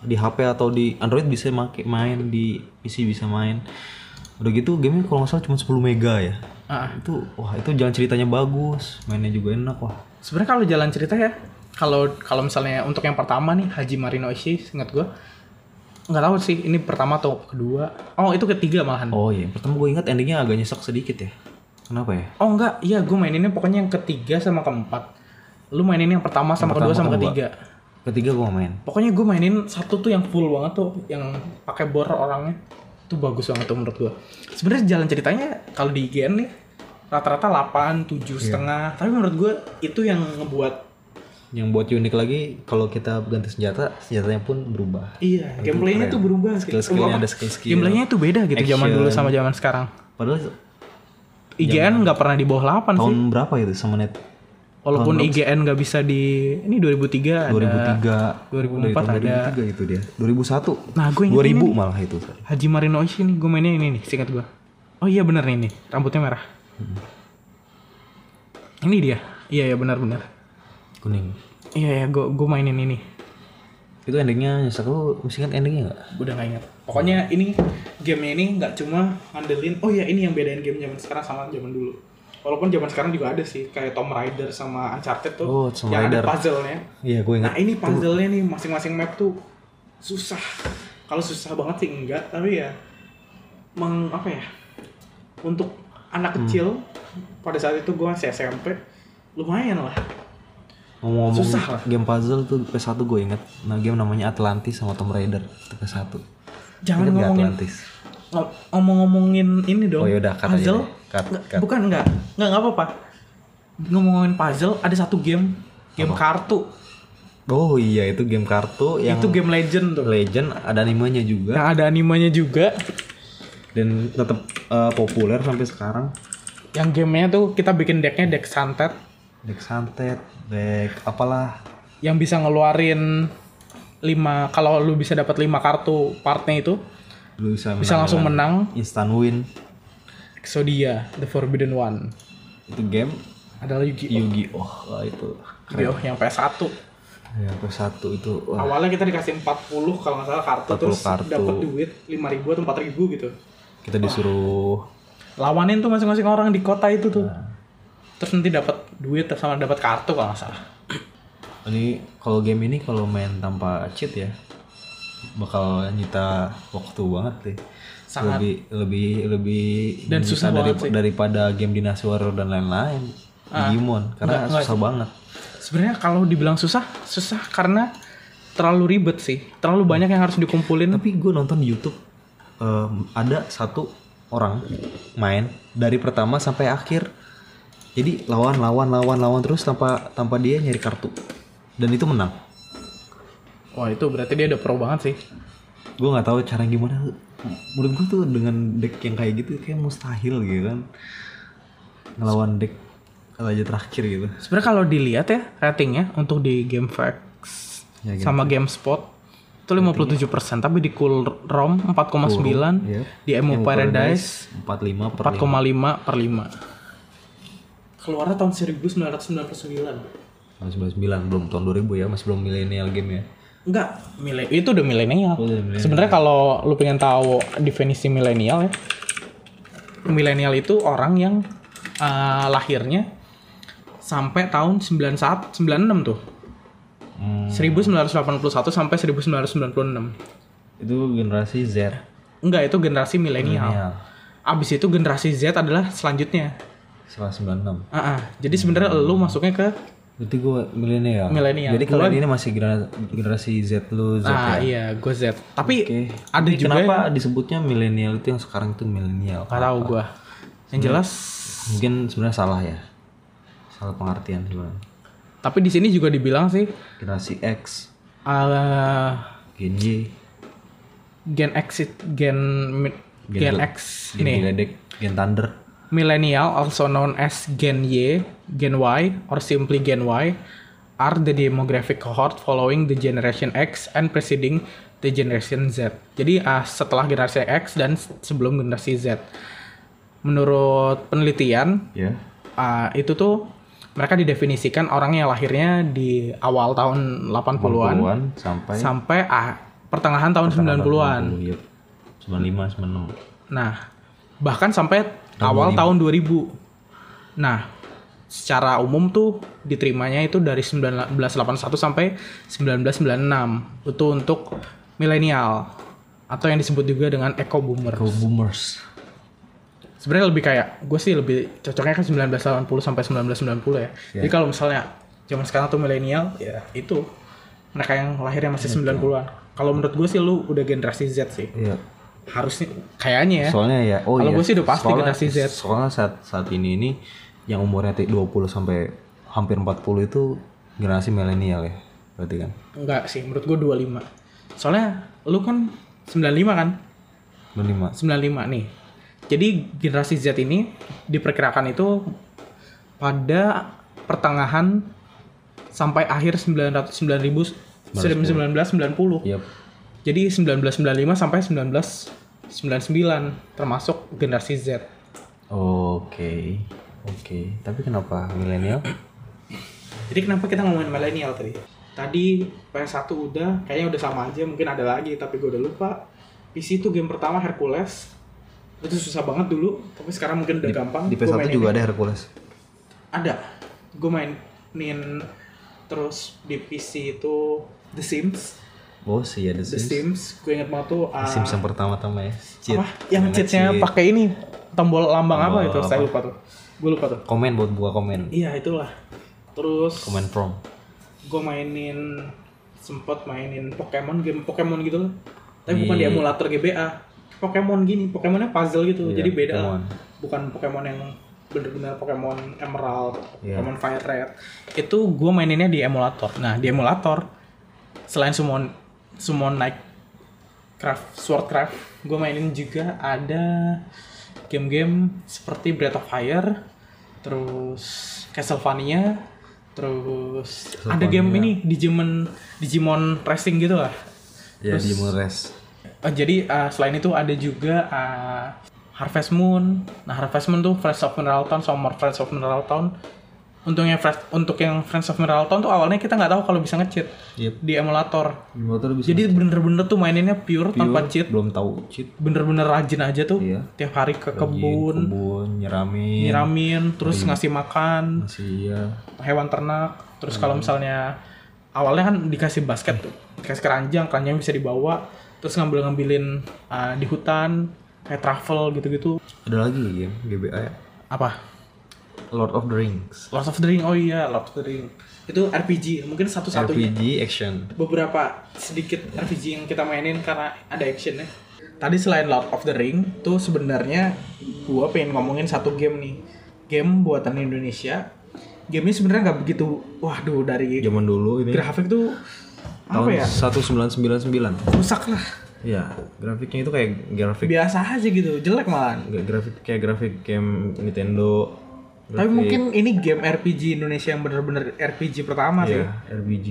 Di HP atau di Android bisa make, main, di PC bisa main. Udah gitu gamenya kalau nggak salah cuma 10 mega ya.
Ah.
Itu wah itu jalan ceritanya bagus, mainnya juga enak wah.
sebenarnya kalau jalan cerita ya kalau kalau misalnya untuk yang pertama nih Haji Marino Ishii ingat gua nggak tahu sih ini pertama atau kedua oh itu ketiga malahan
Oh iya, pertama gue ingat endingnya agak nyesek sedikit ya. Kenapa ya?
Oh enggak, iya gue maininnya pokoknya yang ketiga sama keempat. Lu mainin yang pertama sama
Yang
kedua
pertama,
sama
kedua.
ketiga.
Ketiga gue main.
Pokoknya gue mainin satu tuh yang full banget tuh, yang pakai bor orangnya. Itu bagus banget tuh menurut gue. Sebenarnya jalan ceritanya kalau di IGN nih rata-rata 8, 7
Iya.
setengah. Tapi menurut gue itu yang ngebuat
Yang buat unik lagi kalau kita ganti senjata, senjatanya pun berubah.
iya, gameplaynya
keren.
tuh berubah.
Skill-skillnya
Apa?
ada skill-skill.
Gameplaynya tuh beda gitu zaman
Action.
dulu sama zaman sekarang.
Padahal
IGN nggak pernah di bawah 8 sih.
tahun berapa itu Semenet
Walaupun IGN nggak bisa di ini 2003 ada 2004
2003 Dari Oh, iya, tahun
ada.
2003 itu dia 2001
Nah, gue inget
2000
ini
malah itu
Haji Marino Oishi nih, gue mainnya ini nih, singkat gue. Oh iya bener nih, ini. rambutnya merah. Ini dia, iya ya benar-benar.
kuning
Iya ya, gue gue mainin ini.
itu endingnya nyesek lu mesti kan endingnya gak?
Gue udah gak ingat. Pokoknya ini gamenya ini nggak cuma ngandelin. Oh iya ini yang bedain game zaman sekarang sama zaman dulu. Walaupun zaman sekarang juga ada sih kayak Tomb Raider sama Uncharted tuh
Oh, Tomb
yang
Raider.
ada puzzle-nya.
iya gue ingat
Nah ini puzzle-nya nih masing-masing map tuh susah. Kalau susah banget sih enggak, tapi ya meng apa ya? Untuk
Hmm.
anak kecil pada saat itu gue masih SMP lumayan lah.
ngomong-ngomong
susah lah.
game puzzle tuh PS1 gue ingat nah game namanya Atlantis sama Tomb Raider itu PS1
Jangan
Ingat nggak
ngomongin
Atlantis
ngom- ngomong-ngomongin ini dong.
Oh, yaudah, cut aja
puzzle.
deh. Cut,
Nggak-
cut.
Bukan enggak. Enggak enggak apa-apa. Ngomongin puzzle ada satu game game kartu.
oh iya itu game kartu yang
Itu game legend tuh.
Legend ada animenya juga
Yang ada animenya juga.
dan tetap eh, populer sampai sekarang
Yang gamenya tuh kita bikin decknya deck santet
deck santet deck apalah
yang bisa ngeluarin 5 kalau lu bisa dapat 5 kartu partnya itu
Lu bisa,
Bisa langsung
dengan
menang.
Instant win.
Exodia, The Forbidden One.
Itu game
Adalah Yugi.
Yu-Gi-Oh Wah, itu.
Yugi oh, yang PS1.
Ya, PS1 itu. Wah,
Awalnya kita dikasih 40 kalau nggak salah kartu
40
terus
kartu.
dapat duit 5.000 atau 4.000 gitu.
kita disuruh
Lawanin tuh masing-masing orang di kota itu tuh. Terus nanti dapat duit sama dapat kartu kalau nggak salah.
ini kalau game ini kalau main tanpa cheat ya bakal nyita waktu banget deh.
Sangat.
lebih lebih lebih
Dan
menyita
susah banget sih. Ah.
daripada game Dynasty Warrior dan lain-lain Digimon karena
Nggak- nggak
susah banget
Sebenarnya kalau dibilang susah, susah karena terlalu ribet sih. Terlalu banyak yang harus dikumpulin.
tapi gue nonton di YouTube em, ada satu orang main dari pertama sampai akhir jadi lawan lawan lawan lawan terus tanpa tanpa dia nyari kartu dan itu menang
Wah, itu berarti dia udah pro banget sih.
gue nggak tahu cara gimana menurut gue tuh dengan deck yang kayak gitu kayak mustahil gitu kan ngelawan deck raja terakhir gitu
Sebenarnya kalau dilihat ya ratingnya untuk di GameFAQs
ya, gitu.
sama GameSpot itu 57 tapi di Cool ROM 4,9
iya.
di Emu Paradise
45 per
4,5 per 5 keluarnya tahun 1999
99 belum tahun 2000 ya masih belum milenial game ya
enggak mile- itu udah milenial
Oh, udah milenial.
sebenarnya kalau lu pengen tahu definisi milenial ya milenial itu orang yang eh, lahirnya sampai tahun 91 96 tuh
Hmm,
1981 sampai 1996.
itu generasi Z Iya.
Enggak, itu generasi milenial.
milenial
Abis itu generasi Z adalah selanjutnya.
setelah 96
Ah, ah. Jadi sebenarnya
Hmm.
lu masuknya ke
berarti gue milenial
Milenial.
jadi kalau
Gua-
ini masih genera- generasi Z lu Z
ah
ya
iya, gue Z. Tapi
Oke.
ada
Ini
juga
kenapa disebutnya milenial itu yang sekarang itu milenial
nggak tahu gue.
Hmm.
Yang jelas,
mungkin sebenarnya salah ya salah pengertian sebenarnya
tapi di sini juga dibilang sih
generasi X
eh,
Gen Y
gen X it- gen mi- gen,
Gen Z.
X
Gen
ini
Giledek Gen Thunder
millennial also known as gen Y, gen Y or simply gen Y are the demographic cohort following the generation X and preceding the generation Z. Jadi ah, setelah generasi X dan s- sebelum generasi Z. Menurut penelitian
ya
ah, itu tuh mereka didefinisikan orang yang lahirnya di awal tahun 80-an
80-an sampai
sampai ah, pertengahan tahun 90-an.
90, yep. 95 96
Nah, bahkan sampai awal tahun 2000. Nah, secara umum tuh diterimanya itu dari 1981 sampai 1996. Itu untuk milenial atau yang disebut juga dengan eco boomer.
Go boomers
Sebenarnya lebih kayak gue sih lebih cocoknya kan 1980 sampai 1990 ya. Jadi kalau misalnya zaman sekarang tuh milenial ya itu mereka yang lahirnya masih 90-an. Kalau menurut gue sih lu udah generasi Z sih.
iya
Harusnya kayaknya ya.
soalnya ya oh
Kalau
iya
gua sih udah pasti
Soalnya-
generasi Z.
soalnya saat saat ini ini yang umurnya t- 20 sampai hampir 40 itu generasi milenial ya berarti kan
Enggak sih, menurut gue 25. Soalnya lu kan 95 kan?
95
95 nih. Jadi generasi Z ini diperkirakan itu pada pertengahan sampai akhir 909.000 1990.
yep.
Jadi 1995 sampai 1999 termasuk generasi Z.
oke oke tapi kenapa milenial
Jadi kenapa kita ngomongin milenial tadi? Tadi PS1 udah, kayaknya udah sama aja, mungkin ada lagi, tapi gue udah lupa. PC itu game pertama Hercules. Itu susah banget dulu, tapi sekarang mungkin udah gampang.
di
Gua
PS1
mainin-
juga ada Hercules
Ada. Gue mainin terus di PC itu The Sims.
Oh sih ada
The
Sims.
Sims, gue inget banget tuh. ah,
Sims yang pertama-tama ya. Cheat.
apa? Yang
Yang
cheatnya
nge-cheat.
pakai ini tombol lambang apa
Tombol
itu? Saya lupa tuh. Gue lupa tuh.
Komen buat buka komen.
Iya itulah. Terus.
Komen from.
gue mainin sempet mainin Pokemon game Pokemon gitu loh tapi bukan di
Iya.
emulator GBA Pokemon gini Pokemonnya puzzle gitu
Iya,
jadi beda lah.
Pokemon.
bukan Pokemon yang bener-bener Pokemon Emerald
Iya.
Pokemon Fire Red itu gue maininnya di emulator nah di emulator selain Summon Summon Night Craft Swordcraft gue mainin juga ada game-game seperti Breath of Fire terus Castlevania terus
Iya,
ada game ini Digimon Digimon Racing gitu lah
Ya di Mores.
Oh, jadi eh, selain itu ada juga eh, Harvest Moon. Nah Harvest Moon tuh Friends of Mineral Town sama more Friends of Mineral Town. Untungnya Friends- untuk yang Friends of Mineral Town tuh awalnya kita nggak tahu kalau bisa nge-cheat
Yep.
di emulator.
Di motor bisa
Jadi bener-bener tuh maininnya pure, tanpa cheat.
belum tahu cheat
Bener-bener rajin aja tuh.
Iya.
Tiap hari ke
Rajin,
kebun,
kebun nyiramin
nyiramin, terus ngasih makan.
masih iya
hewan ternak. Terus kalau misalnya awalnya kan dikasih basket tuh, dikasih keranjang, keranjang bisa dibawa, terus ngambil-ngambilin uh, di hutan kayak travel gitu-gitu.
ada lagi ya GBA ya?
Apa?
Lord of the Rings
Lord of the Ring. Oh iya, Lord of the Ring. Itu RPG, mungkin satu-satunya.
RPG action
Beberapa sedikit RPG yang kita mainin karena ada actionnya. Tadi selain Lord of the Ring, tuh sebenarnya gua pengen ngomongin satu game nih. Game buatan Indonesia. Game ini sebenarnya nggak begitu, waduh dari
zaman dulu ini
grafik tuh apa
tahun
ya
1999
rusak lah
ya grafiknya itu kayak grafik
biasa aja gitu jelek malahan
nggak grafik kayak grafik game Nintendo
tapi mungkin ini game RPG Indonesia yang bener-bener RPG pertama sih
ya RBG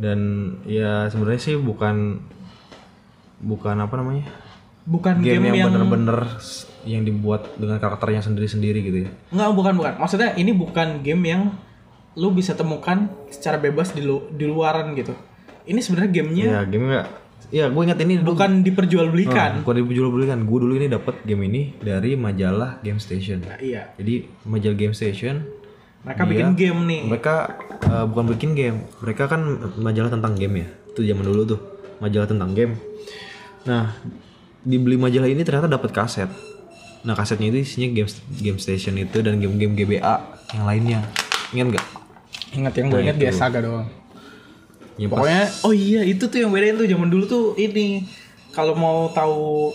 dan ya sebenarnya sih bukan bukan apa namanya
bukan game,
game, yang,
yang,
bener-bener s- yang dibuat dengan karakternya sendiri-sendiri gitu ya
nggak bukan bukan maksudnya ini bukan game yang lu bisa temukan secara bebas di, lu- di luaran gitu ini sebenarnya gamenya
ya game nggak ya gue ingat ini dulu
bukan diperjualbelikan
bukan dijual belikan gue kan, dulu ini dapat game ini dari majalah Game Station
Nah, iya
jadi majalah Game Station
mereka
Iya.
bikin game nih
mereka eh, bukan bikin game mereka kan majalah tentang game ya itu zaman dulu tuh majalah tentang game nah dibeli majalah ini ternyata dapat kaset nah kasetnya itu isinya game game station itu dan game-game GBA yang lainnya ingat nggak
ingat yang gue ingat dia saga doang
Nah, yang pas
Pokoknya oh iya itu tuh yang bedain tuh zaman dulu tuh ini kalau mau tahu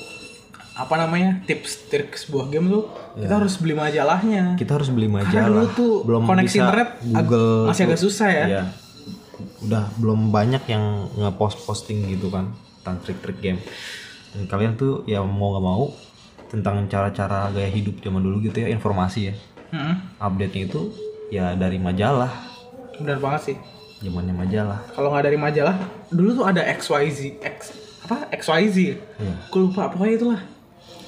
apa namanya tips trik sebuah game tuh kita harus beli majalahnya.
Iya. kita harus beli
Karena
majalah
dulu tuh
belum
koneksi
bisa
internet ag-
Google
masih agak susah ya.
Iya. udah belum banyak yang ngepost posting gitu kan tentang trik-trik game dan kalian tuh ya mau nggak mau tentang cara-cara gaya hidup zaman dulu gitu ya informasi ya
Heeh.
update nya itu ya dari majalah
Benar banget sih.
zamannya majalah
Kalau nggak dari majalah, dulu tuh ada XYZ X apa XYZ.
Iya.
Gue lupa pokoknya itulah.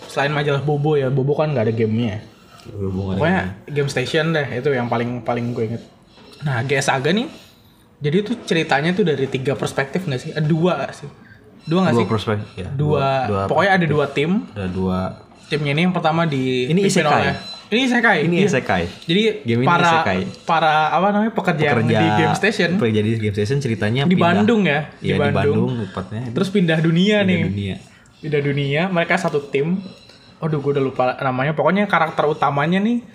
Selain majalah Bobo ya, Bobo kan nggak ada gamenya.
berhubungan
Pokoknya Game Station deh itu yang paling paling gue inget. Nah GS Saga nih, jadi tuh ceritanya tuh dari tiga perspektif nggak sih? Eh, dua sih, dua nggak
dua
sih?
prospek ya
Dua, pokoknya ada dua tim.
ada dua
Timnya ini yang pertama di
Ini
pimpin
isekai.
oleh- Ini isekai.
ini ya.
Iya.
isekai
Jadi
Game ini
para
isekai.
para apa namanya pekerja, yang
kerja
di Game Station
kerja di game station ceritanya
di
pindah.
Bandung ya,
Iya, di Bandung tepatnya
Terus pindah dunia
Pindah
nih.
dunia
Beda dunia, mereka satu tim. Aduh, gue udah lupa namanya. Pokoknya karakter utamanya nih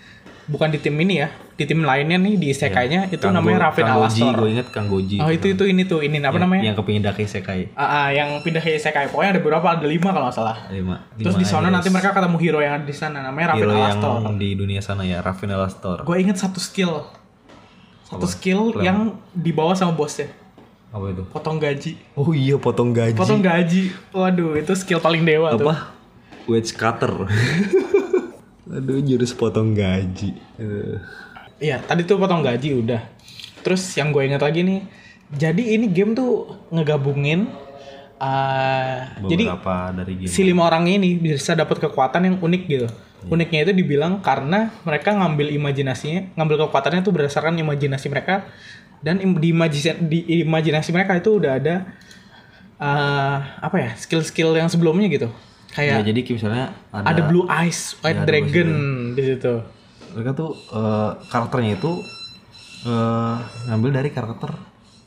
bukan di tim ini ya, di tim lainnya nih di isekainya itu
Kang Go-
namanya Rafin
Kang Goji,
Alastor.
gue inget Kang Goji.
Oh, itu itu ini tuh, ini apa
yang,
namanya?
Yang kepingin daki sekai.
Ah, ah, yang pindah ke isekai. Pokoknya ada berapa? Ada lima kalau nggak salah.
Lima.
Terus
lima
di sana
heroes.
nanti mereka ketemu hero yang ada di sana namanya Rafin
hero
Alastor.
yang di dunia sana ya, Rafin Alastor.
Gue inget satu skill. Satu
Apa?
skill
Clan.
yang dibawa sama bosnya.
Apa itu?
Potong gaji.
Oh iya, potong gaji.
Potong gaji. Waduh, itu skill paling dewa tuh.
apa? Wedge
<laughs>
cutter. Aduh, jurus potong gaji. Eh,
Iya, tadi tuh potong gaji udah. Terus yang gue inget lagi nih, jadi ini game tuh ngegabungin eh, jadi
beberapa dari game.
si lima orang ini bisa dapat kekuatan yang unik gitu. Uniknya itu dibilang karena mereka ngambil imajinasinya, ngambil kekuatannya tuh berdasarkan imajinasi mereka dan im- di imajinasi, di imajinasi mereka itu udah ada eh, apa ya skill-skill yang sebelumnya gitu.
Ya,
Kayak
jadi kayak misalnya ada,
ada blue eyes, white
Iya. ada
dragon di situ.
mereka tuh eh, karakternya itu eh, ngambil dari karakter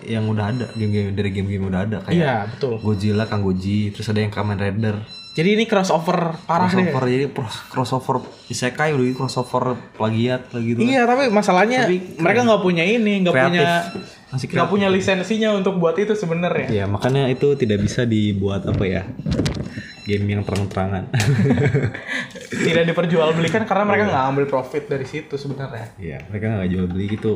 yang udah ada game-game dari game-game yang udah ada kayak
Iya betul.
Godzilla, Kang Goji, terus ada yang Kamen Rider.
Jadi ini crossover parah deh.
crossover jadi pros- crossover isekai udah gitu, crossover plagiat lagi gitu.
Iya, tapi masalahnya mereka nggak punya ini, nggak punya
Masih
nggak punya lisensinya untuk buat itu sebenarnya.
Ya, makanya itu tidak bisa dibuat apa ya? Game yang
<laughs>
terang-terangan.
Tidak diperjualbelikan karena mereka nggak ambil profit dari situ sebenarnya.
Iya, mereka nggak jual beli gitu.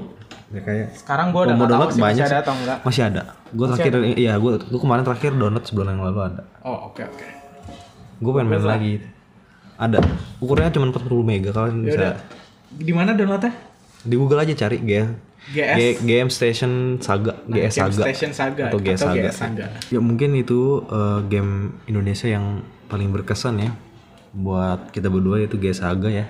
Mereka ya
Sekarang gua Oh, udah
Mau
nggak tahu
download
sih masih
banyak
ada atau enggak.
masih ada. Gue terakhir iya, gue gue kemarin terakhir download sebulan yang lalu ada.
Oh, oke oke.
Gue pengen main lagi. Ada.
Ya
Ukurannya cuma 40 mega kalian bisa
Di mana downloadnya?
di Google aja cari game
GS.
G- Game Station Saga,
Nah,
GS
Game
Saga.
Station Saga
atau GS Saga.
GS Saga.
Ya mungkin itu eh, game Indonesia yang paling berkesan ya buat kita berdua itu GS Saga ya.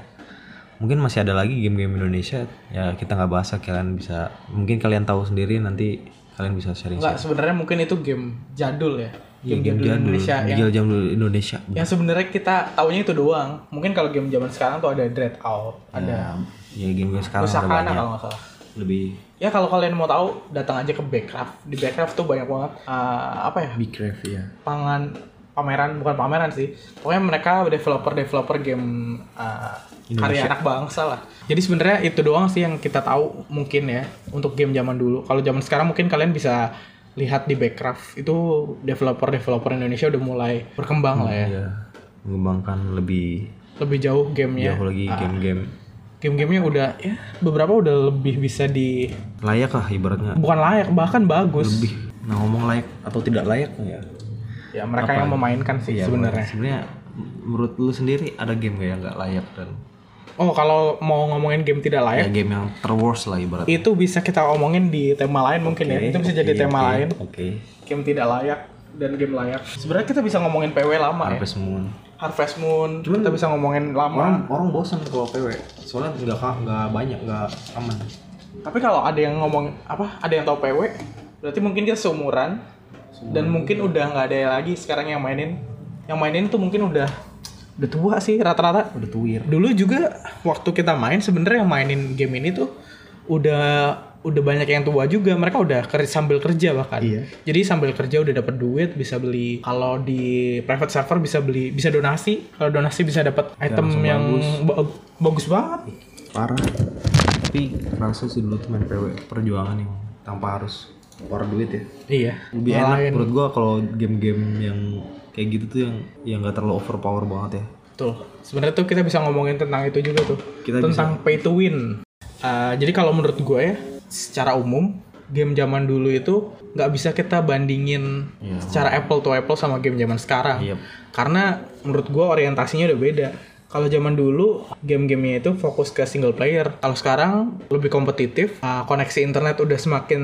Mungkin masih ada lagi game-game Indonesia ya kita nggak bahas lah, kalian bisa mungkin kalian tahu sendiri nanti kalian bisa sharing. Iya,
Enggak, sebenarnya mungkin itu game jadul ya. Game jadul Indonesia yang
Jam Indonesia.
yang sebenarnya kita taunya itu doang. Mungkin kalau game zaman sekarang tuh ada Dread Out, ada
Ya, ya game-game sekarang ada
Pusakana
banyak.
kalau nggak salah.
Lebih
Ya kalau kalian mau tahu, datang aja ke Backcraft. Di Backcraft tuh banyak banget eh, apa ya?
big craft ya.
Pangan pameran bukan pameran sih. Pokoknya mereka developer-developer game eh, karya anak bangsa lah. Jadi sebenarnya itu doang sih yang kita tahu mungkin ya untuk game zaman dulu. Kalau zaman sekarang mungkin kalian bisa lihat di Backcraft itu developer-developer Indonesia udah mulai berkembang lah ya.
Ya, mengembangkan lebih
Lebih jauh gamenya.
jauh lagi game-game
Game-gamenya udah ya beberapa udah lebih bisa di
layak lah ibaratnya.
bukan layak bahkan bagus.
Lebih. Nah, ngomong layak atau tidak layak ya.
Ya mereka yang memainkan sih sebenarnya.
Iya, Sebenarnya menurut lu sendiri ada game gak yang nggak layak dan
Oh, kalau mau ngomongin game tidak
ya,
layak,
game yang terworst lah ibaratnya.
itu bisa kita omongin di tema lain mungkin ya. Itu bisa jadi tema lain,
Iya. Oke.
game tidak layak dan game layak. Sebenarnya kita bisa ngomongin PW lama ya.
Harvest Moon.
Harvest Moon, kita bisa ngomongin lama.
Iya. Orang orang bosan kalau PW. Soalnya nggak nggak banyak nggak aman.
Tapi kalau ada yang ngomong apa, ada yang tahu PW, berarti mungkin dia seumuran dan mungkin udah nggak ada lagi sekarang yang mainin. Yang mainin tuh mungkin udah udah tua sih rata-rata.
Udah tuir.
dulu juga waktu kita main sebenarnya yang mainin game ini tuh udah udah banyak yang tua juga mereka udah ker sambil kerja bahkan
Iya.
jadi sambil kerja udah dapat duit bisa beli kalau di private server bisa beli bisa donasi kalau donasi bisa dapat
Nah,
item yang ba- bagus banget
Parah. Tapi kerasa sih dulu tuh main PW perjuangan yang tanpa harus keluar duit ya.
iya
lebih enak
Ngalahin.
menurut gua kalau game-game yang kayak gitu tuh yang yang gak terlalu overpower banget ya
Betul. Sebenarnya tuh kita bisa ngomongin tentang itu juga tuh.
Kita
tentang pay to win. Eh, jadi kalau menurut gue ya, secara umum game zaman dulu itu nggak bisa kita bandingin
Iya.
secara apple to apple sama game zaman sekarang.
Yep.
Karena menurut gue orientasinya udah beda. Kalau zaman dulu game-gamenya itu fokus ke single player. Kalau sekarang lebih kompetitif, eh, koneksi internet udah semakin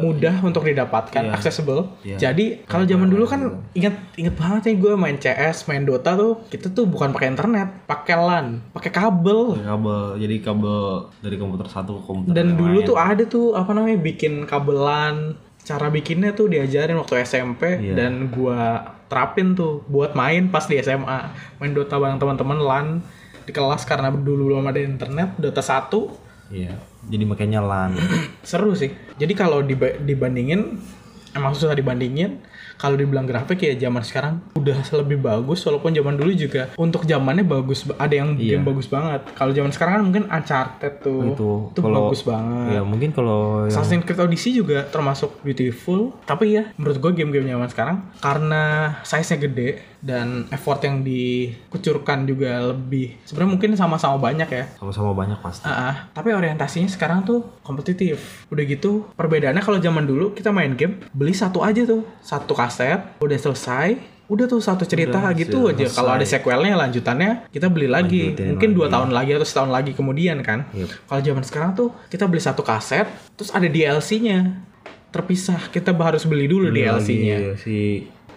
mudah untuk didapatkan, accessible.
Iya.
Jadi kalau zaman dulu kan inget inget banget ya gue main CS, main Dota tuh kita tuh bukan pakai internet, pakai LAN, pakai kabel.
kabel jadi kabel dari komputer satu ke komputer
Dan
yang
dulu
lain.
tuh ada tuh apa namanya bikin kabelan. Cara bikinnya tuh diajarin waktu SMP
Iya.
dan gua terapin tuh buat main pas di SMA. Main Dota bareng teman-teman LAN di kelas karena dulu belum ada internet, Dota 1
iya jadi makanya lan
seru sih. Jadi kalau diba- dibandingin emang susah dibandingin. Kalau dibilang grafik ya zaman sekarang udah lebih bagus walaupun zaman dulu juga untuk zamannya bagus ba- ada yang
Iya.
game bagus banget. Kalau zaman sekarang kan mungkin Uncharted tuh
itu
tuh bagus banget.
ya mungkin kalau yang
Assassin's Creed Odyssey juga termasuk beautiful, tapi ya menurut gue game-game zaman sekarang karena size-nya gede dan effort yang dikucurkan juga lebih. Sebenarnya mungkin sama-sama banyak ya,
sama-sama banyak pasti
Ah, ah. tapi orientasinya sekarang tuh kompetitif. Udah gitu, perbedaannya kalau zaman dulu kita main game, beli satu aja tuh, satu kaset, udah selesai, udah tuh satu cerita
Udah,
gitu
sudah
aja. Kalau ada
selesai.
sequelnya, lanjutannya kita beli lagi.
Lanjutin
Mungkin dua
lagi. iya.
tahun lagi atau setahun lagi kemudian kan.
Yep.
Kalau zaman sekarang tuh kita beli satu kaset, terus ada DLC-nya terpisah. Kita harus beli dulu DLC-nya
Lagi si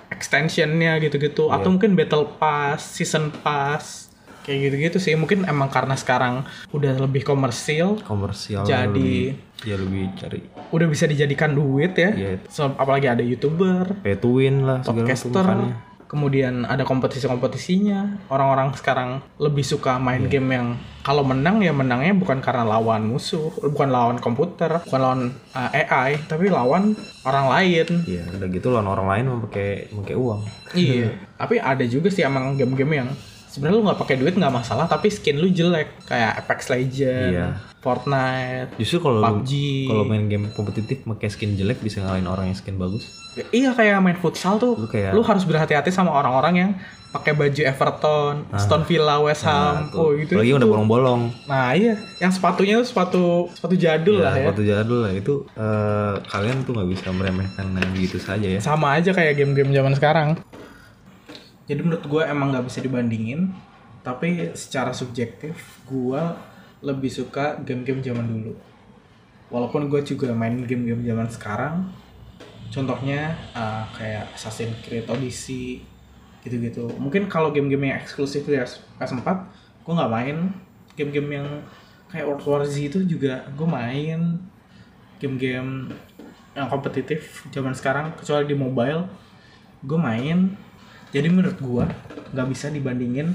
extensionnya gitu-gitu atau mungkin battle pass, season pass kayak gitu-gitu sih mungkin emang karena sekarang udah lebih komersil
komersial
Jadi-
lebih, ya lebih cari
udah bisa dijadikan duit ya
Iya.
So, apalagi ada youtuber,
pay to win lah segala macam
podcaster
makannya.
kemudian ada kompetisi-kompetisinya orang-orang sekarang lebih suka main game yang kalau menang ya menangnya bukan karena lawan musuh bukan lawan komputer bukan lawan uh, AI tapi lawan orang lain
Iya, udah gitu lawan orang lain memakai memakai uang.
Iya. <laughs> tapi ada juga sih emang game-game yang sebenarnya lu nggak pakai duit nggak masalah, tapi skin lu jelek kayak Apex Legends,
Iya.
Fortnite.
Justru kalau lu-
PUBG.
kalau main game kompetitif pakai skin jelek bisa ngalahin orang yang skin bagus.
Ya, Iya kayak main futsal tuh,
Lu
lu,
kayak-
harus berhati-hati sama orang-orang yang pakai baju Everton, Stone Villa, West
Ah. Nah,
Ham, oh
tuh.
gitu.
Apalagi yang udah bolong-bolong.
Nah iya, yang sepatunya tuh sepatu sepatu jadul lah ya.
Iya, Sepatu jadul lah itu eh, kalian tuh nggak bisa meremehkan yang gitu saja ya.
sama aja kayak game-game zaman sekarang. Jadi menurut gue emang nggak bisa dibandingin, tapi secara subjektif gue lebih suka game-game zaman dulu. walaupun gue juga main game-game zaman sekarang contohnya uh, kayak Assassin's Creed Odyssey gitu-gitu mungkin kalau game-game yang eksklusif di PS4 gue nggak main game-game yang kayak World War Z itu juga gue main game-game yang kompetitif zaman sekarang kecuali di mobile gue main jadi menurut gue nggak bisa dibandingin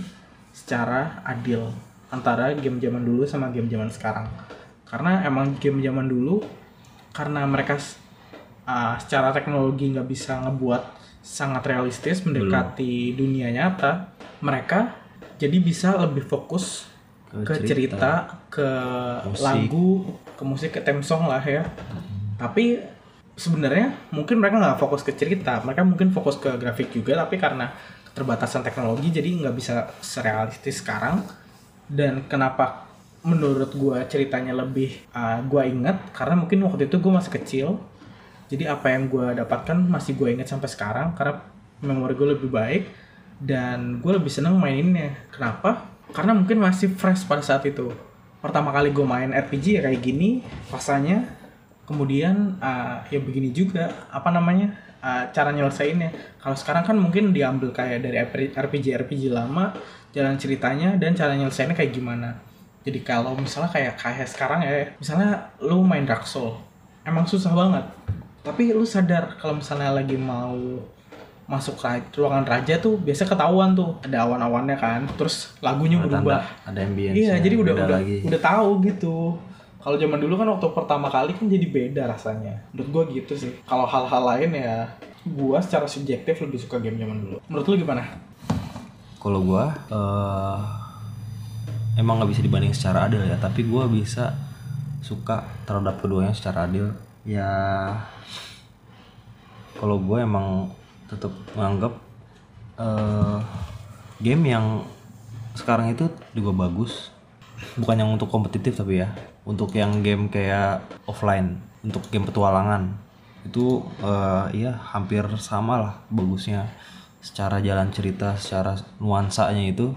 secara adil antara game zaman dulu sama game zaman sekarang karena emang game zaman dulu karena mereka s- ah, secara teknologi nggak bisa ngebuat sangat realistis mendekati dunia nyata mereka jadi bisa lebih fokus
Ke
ke
cerita.
cerita ke
Musik.
lagu ke musik ke theme song lah ya tapi sebenarnya mungkin mereka nggak fokus ke cerita mereka mungkin fokus ke grafik juga tapi karena keterbatasan teknologi jadi nggak bisa serealistis sekarang dan kenapa menurut gua ceritanya lebih uh, gua inget karena mungkin waktu itu gua masih kecil jadi apa yang gua dapatkan masih gua inget sampai sekarang karena memori gua lebih baik dan gua lebih seneng maininnya kenapa karena mungkin masih fresh pada saat itu pertama kali gua main RPG ya kayak gini rasanya kemudian uh, ya begini juga apa namanya uh, cara nyelesainnya kalau sekarang kan mungkin diambil kayak dari RPG RPG lama jalan ceritanya dan cara nyelesainnya kayak gimana jadi kalau misalnya kayak kayak sekarang ya misalnya lu main Dark Soul emang susah banget tapi lu sadar kalau misalnya lagi mau masuk ra- ruangan raja tuh biasa ketahuan tuh ada awan-awannya kan terus lagunya
Ada
berubah
tanda- ada ambience
Iya, jadi udah udah
lagi
udah tahu gitu. Kalau zaman dulu kan waktu pertama kali kan jadi beda rasanya. Menurut gua gitu sih. Kalau hal-hal lain ya gua secara subjektif lebih suka game zaman dulu. Menurut lu gimana?
kalau gua eh, emang nggak bisa dibanding secara adil ya tapi gua bisa suka terhadap keduanya secara adil ya kalau gue emang tetap menganggap eh, game yang sekarang itu juga bagus bukan yang untuk kompetitif tapi ya untuk yang game kayak offline untuk game petualangan itu eh, iya hampir sama lah bagusnya secara jalan cerita secara nuansanya itu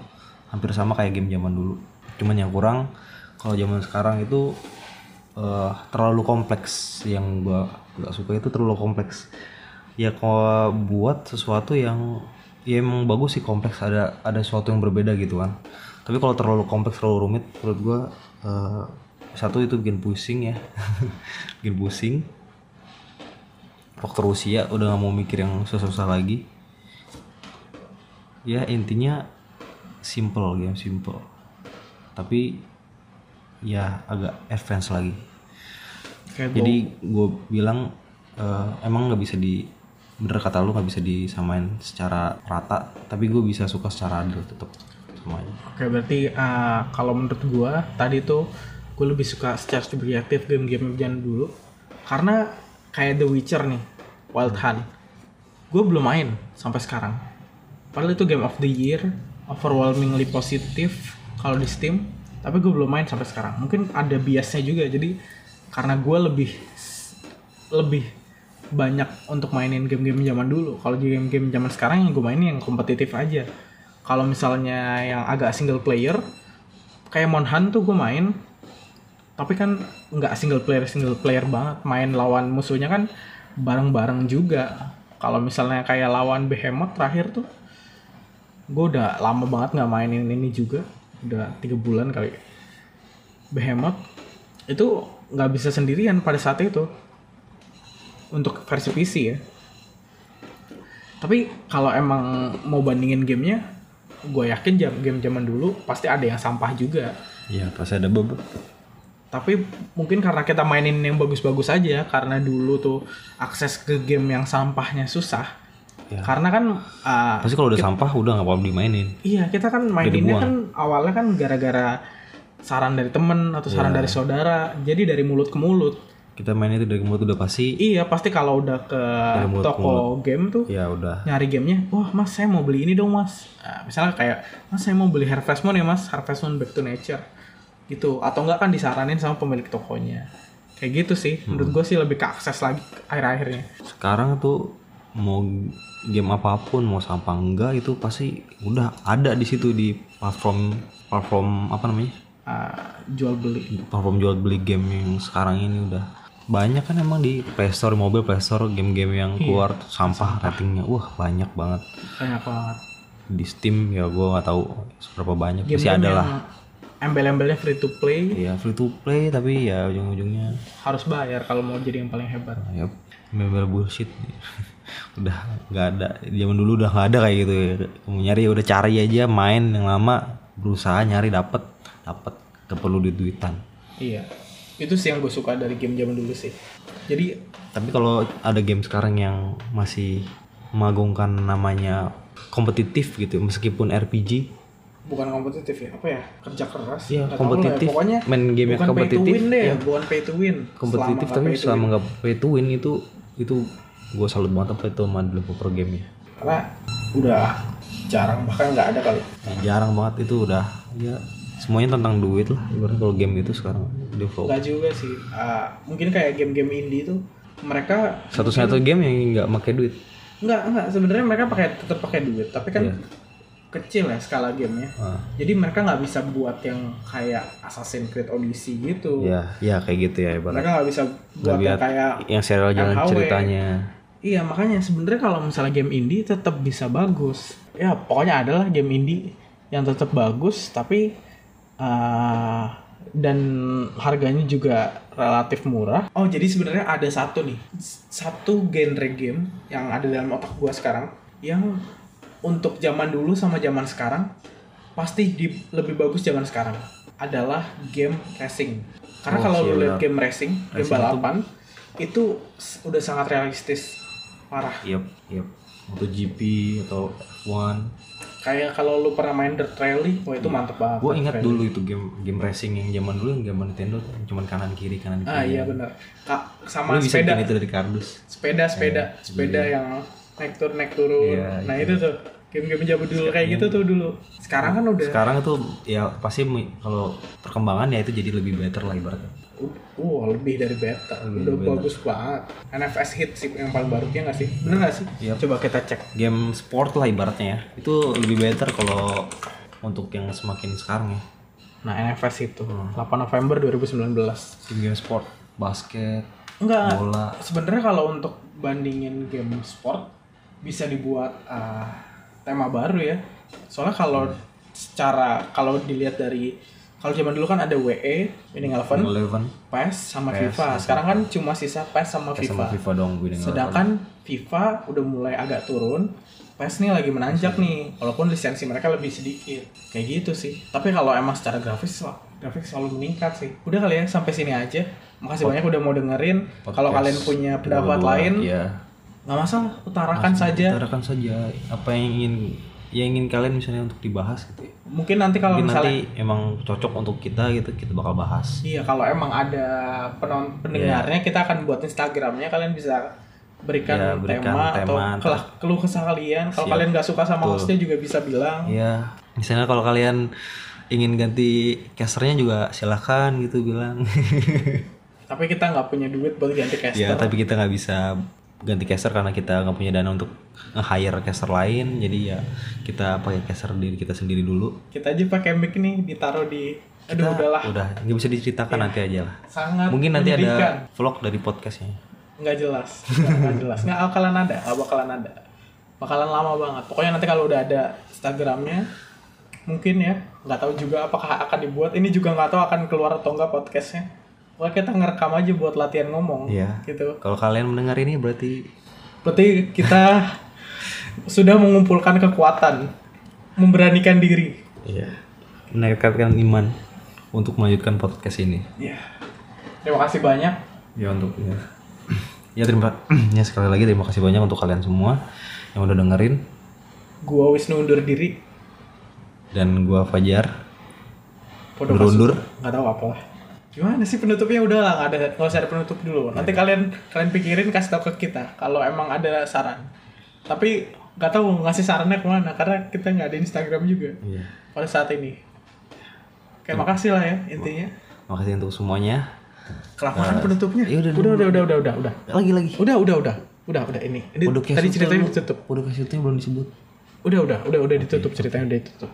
hampir sama kayak game zaman dulu cuman yang kurang kalau zaman sekarang itu eh, terlalu kompleks yang gua nggak suka itu terlalu kompleks ya kalau buat sesuatu yang ya emang bagus sih kompleks ada ada sesuatu yang berbeda gitu kan tapi kalau terlalu kompleks terlalu rumit menurut gua eh, satu itu bikin pusing ya <laughs> bikin pusing faktor usia udah nggak mau mikir yang susah-susah lagi ya intinya simple game simple tapi ya agak advance lagi
Kayak
jadi gue bilang eh, emang nggak bisa di bener kata lu nggak bisa disamain secara rata tapi gue bisa suka secara adil tetap semuanya
Oke, berarti uh, kalau menurut gua tadi tuh gua lebih suka secara subjektif game-game zaman dulu karena kayak The Witcher nih, Wild Hunt. Gua belum main sampai sekarang. Padahal itu game of the year, overwhelmingly positif kalau di Steam, tapi gue belum main sampai sekarang. Mungkin ada biasnya juga. Jadi karena gua lebih lebih banyak untuk mainin game-game zaman dulu. Kalau di game-game zaman sekarang yang gue mainin yang kompetitif aja. Kalau misalnya yang agak single player, kayak Monhan tuh gue main, tapi kan nggak single player single player banget. Main lawan musuhnya kan bareng-bareng juga. Kalau misalnya kayak lawan Behemoth terakhir tuh, gue udah lama banget nggak mainin ini juga, udah tiga bulan kali. Behemoth itu nggak bisa sendirian pada saat itu untuk versi PC ya. Tapi kalau emang mau bandingin gamenya, gue yakin jam- game zaman dulu pasti ada yang sampah juga.
ya pasti ada beb
Tapi mungkin karena kita mainin yang bagus-bagus aja, karena dulu tuh akses ke game yang sampahnya susah.
Ya.
Karena kan uh,
pasti kalau udah sampah udah nggak apa dimainin
Iya, kita kan maininnya
dibuang.
kan awalnya kan gara-gara saran dari temen atau saran
Iya.
dari saudara. Jadi dari mulut ke mulut.
kita main itu dari mulut udah pasti
Iya, pasti kalau udah ke
Dari mulut ke
toko game tuh
ya udah
nyari gamenya, wah mas saya mau beli ini dong mas. Nah, misalnya kayak, mas saya mau beli Harvest Moon ya mas, Harvest Moon Back to Nature. Gitu, atau enggak kan disaranin sama pemilik tokonya. Kayak gitu sih,
Hmm.
menurut gue sih lebih ke akses lagi akhir-akhirnya.
sekarang tuh mau game apapun mau sampah enggak itu pasti udah ada di situ di platform platform apa namanya
uh, jual beli
platform jual beli game yang sekarang ini udah banyak kan emang di Play Store, di mobile Play Store game-game yang keluar tuh Iya. sampah, ratingnya wah banyak banget
banyak banget
di Steam ya gua nggak tahu seberapa banyak
game
masih ada lah
embel-embelnya free to play
ya free to play tapi ya ujung-ujungnya
harus bayar kalau mau jadi yang paling hebat
ya member bullshit <laughs> udah nggak ada zaman dulu udah nggak ada kayak gitu ya. mau nyari ya udah cari aja main yang lama berusaha nyari dapet dapet gak perlu duit duitan
iya itu sih yang gue suka dari game zaman dulu sih jadi
Tapi kalau ada game sekarang yang masih mengagungkan namanya kompetitif gitu, meskipun RPG,
bukan kompetitif ya apa ya kerja keras
Iya,
Nggak tahu lah
kompetitif.
ya. pokoknya
Main game yang
bukan pay
kompetitif,
to win deh
iya.
bukan pay to win
kompetitif
Selama nggak
tapi
pay to win.
selama nggak pay to win itu itu gue salut banget apa itu sama developer ya. gamenya.
karena udah jarang bahkan nggak ada kali
Ya, jarang banget itu udah ya semuanya tentang duit lah ibaratnya kalau game itu sekarang developer
nggak juga sih Ah, mungkin kayak game-game indie itu mereka
satu-satu game yang nggak pakai duit
nggak nggak sebenarnya mereka pakai tetap pakai duit tapi kan kecil ya skala gamenya
Iya. Ah,
jadi mereka nggak bisa buat yang kayak Assassin's Creed Odyssey gitu
ya ya kayak gitu ya ibarat
mereka nggak bisa buat yang
biar-
kayak
yang serial jalan
MHW.
ceritanya
Iya makanya sebenarnya kalau misalnya game indie tetap bisa bagus. Ya pokoknya adalah game indie yang tetap bagus tapi eh, dan harganya juga relatif murah. Oh jadi sebenarnya ada satu nih s- satu genre game yang ada dalam otak gua sekarang yang untuk zaman dulu sama zaman sekarang pasti di- lebih bagus zaman sekarang adalah game racing. Karena
Oh,
kalau lu
siap.
lihat game racing, game
Racing itu-
balapan itu s- udah sangat realistis parah
Yep, yep. MotoGP atau F1
kayak kalau lu pernah main dirt rally wah itu mantep banget
gue ingat
Dirt
dulu itu game game racing yang zaman dulu yang zaman Nintendo cuman kanan kiri kanan
rally.
kiri
ah iya benar Ka-
Lu
sama
bisa
sepeda
bikin itu dari kardus
sepeda sepeda sepeda yang naik turun naik turun
Iya,
nah
iya.
itu tuh game-game zaman dulu kayak gitu tuh dulu sekarang kan udah
sekarang itu ya pasti mi- kalau perkembangan ya itu jadi lebih better lah ibaratnya
wah lebih dari beta
Lebih
udah
dari beta.
bagus banget NFS hit sih yang paling baru ya nggak sih bener nggak sih
Yap.
coba kita cek
game sport lah ibaratnya ya itu lebih better kalau untuk yang semakin sekarang ya
nah NFS itu
Hmm.
8 November 2019
game, game sport basket
Enggak.
Bola.
Sebenarnya kalau untuk bandingin game sport bisa dibuat ah, tema baru ya. Soalnya kalau secara kalau dilihat dari kalau zaman dulu kan ada WE, Winning Eleven,
Eleven
PES sama
PES,
FIFA. Sekarang kan cuma sisa PES sama
ya
FIFA.
sama FIFA dong winning eleven
Sedangkan FIFA udah mulai agak turun. PES nih lagi menanjak nih, walaupun lisensi mereka lebih sedikit. Kayak gitu sih. Tapi kalau emang secara grafis wah, grafik selalu meningkat sih. Udah kali ya sampai sini aja. Makasih banyak udah mau dengerin. Kalau
Podcast
kalian punya pendapat
kedua-dua,
lain,
ya.
nggak masalah, utarakan saja.
utarakan saja apa yang ingin yang ingin kalian misalnya untuk dibahas gitu ya.
Mungkin nanti kalau
Mungkin
misalnya
nanti emang cocok untuk kita gitu kita bakal bahas
Iya, kalau emang ada
Iya.
penon pendengarnya kita akan buat Instagramnya kalian bisa berikan,
Ya, berikan
tema, atau
tema,
kelah keluh kesah kalian. Kalau
Siap.
kalian nggak suka sama
Betul.
hostnya juga bisa bilang.
Iya, misalnya kalau kalian ingin ganti casternya juga silahkan gitu bilang.
Tapi kita nggak punya duit buat ganti caster.
ya, tapi kita nggak bisa ganti caster karena kita nggak punya dana untuk nge-hire caster lain. Jadi ya kita pakai caster diri kita sendiri dulu.
Kita aja pakai mic nih ditaruh di aduh
Kita
udahlah
Udah, nggak bisa diceritakan nanti aja lah.
sangat
Mungkin nanti
menyedihkan.
ada vlog dari podcastnya.
nggak jelas
<laughs>
nggak jelas nggak bakalan ada nggak bakalan ada bakalan lama banget pokoknya nanti kalau udah ada Instagramnya mungkin ya nggak tahu juga apakah akan dibuat ini juga nggak tahu akan keluar atau enggak podcastnya pokoknya kita ngerekam aja buat latihan ngomong
Iya.
gitu
Kalau kalian mendengar ini berarti
berarti kita sudah mengumpulkan kekuatan memberanikan diri
ya menekatkan iman untuk melanjutkan podcast ini.
ya terima kasih banyak
ya untuk ya, <clears throat> ya terima <clears throat> ya sekali lagi terima kasih banyak untuk kalian semua yang udah dengerin
gua Wisnu undur diri
dan gua Fajar
Podo
undur undur
nggak tahu apa lah gimana sih penutupnya udah lah nggak ada nggak usah ada penutup dulu
Iya.
nanti kalian kalian pikirin kasih tahu ke kita kalau emang ada saran tapi nggak tahu ngasih sarannya kemana karena kita nggak ada Instagram juga
Iya.
pada saat ini oke makasih lah ya intinya
makasih untuk semuanya
kelamaan penutupnya
ya udah,
udah udah udah udah udah udah
lagi lagi
udah udah udah udah udah ini, ini
Udah
tadi ceritanya ditutup
udah kasih belum disebut
udah udah udah udah ditutup ceritanya udah ditutup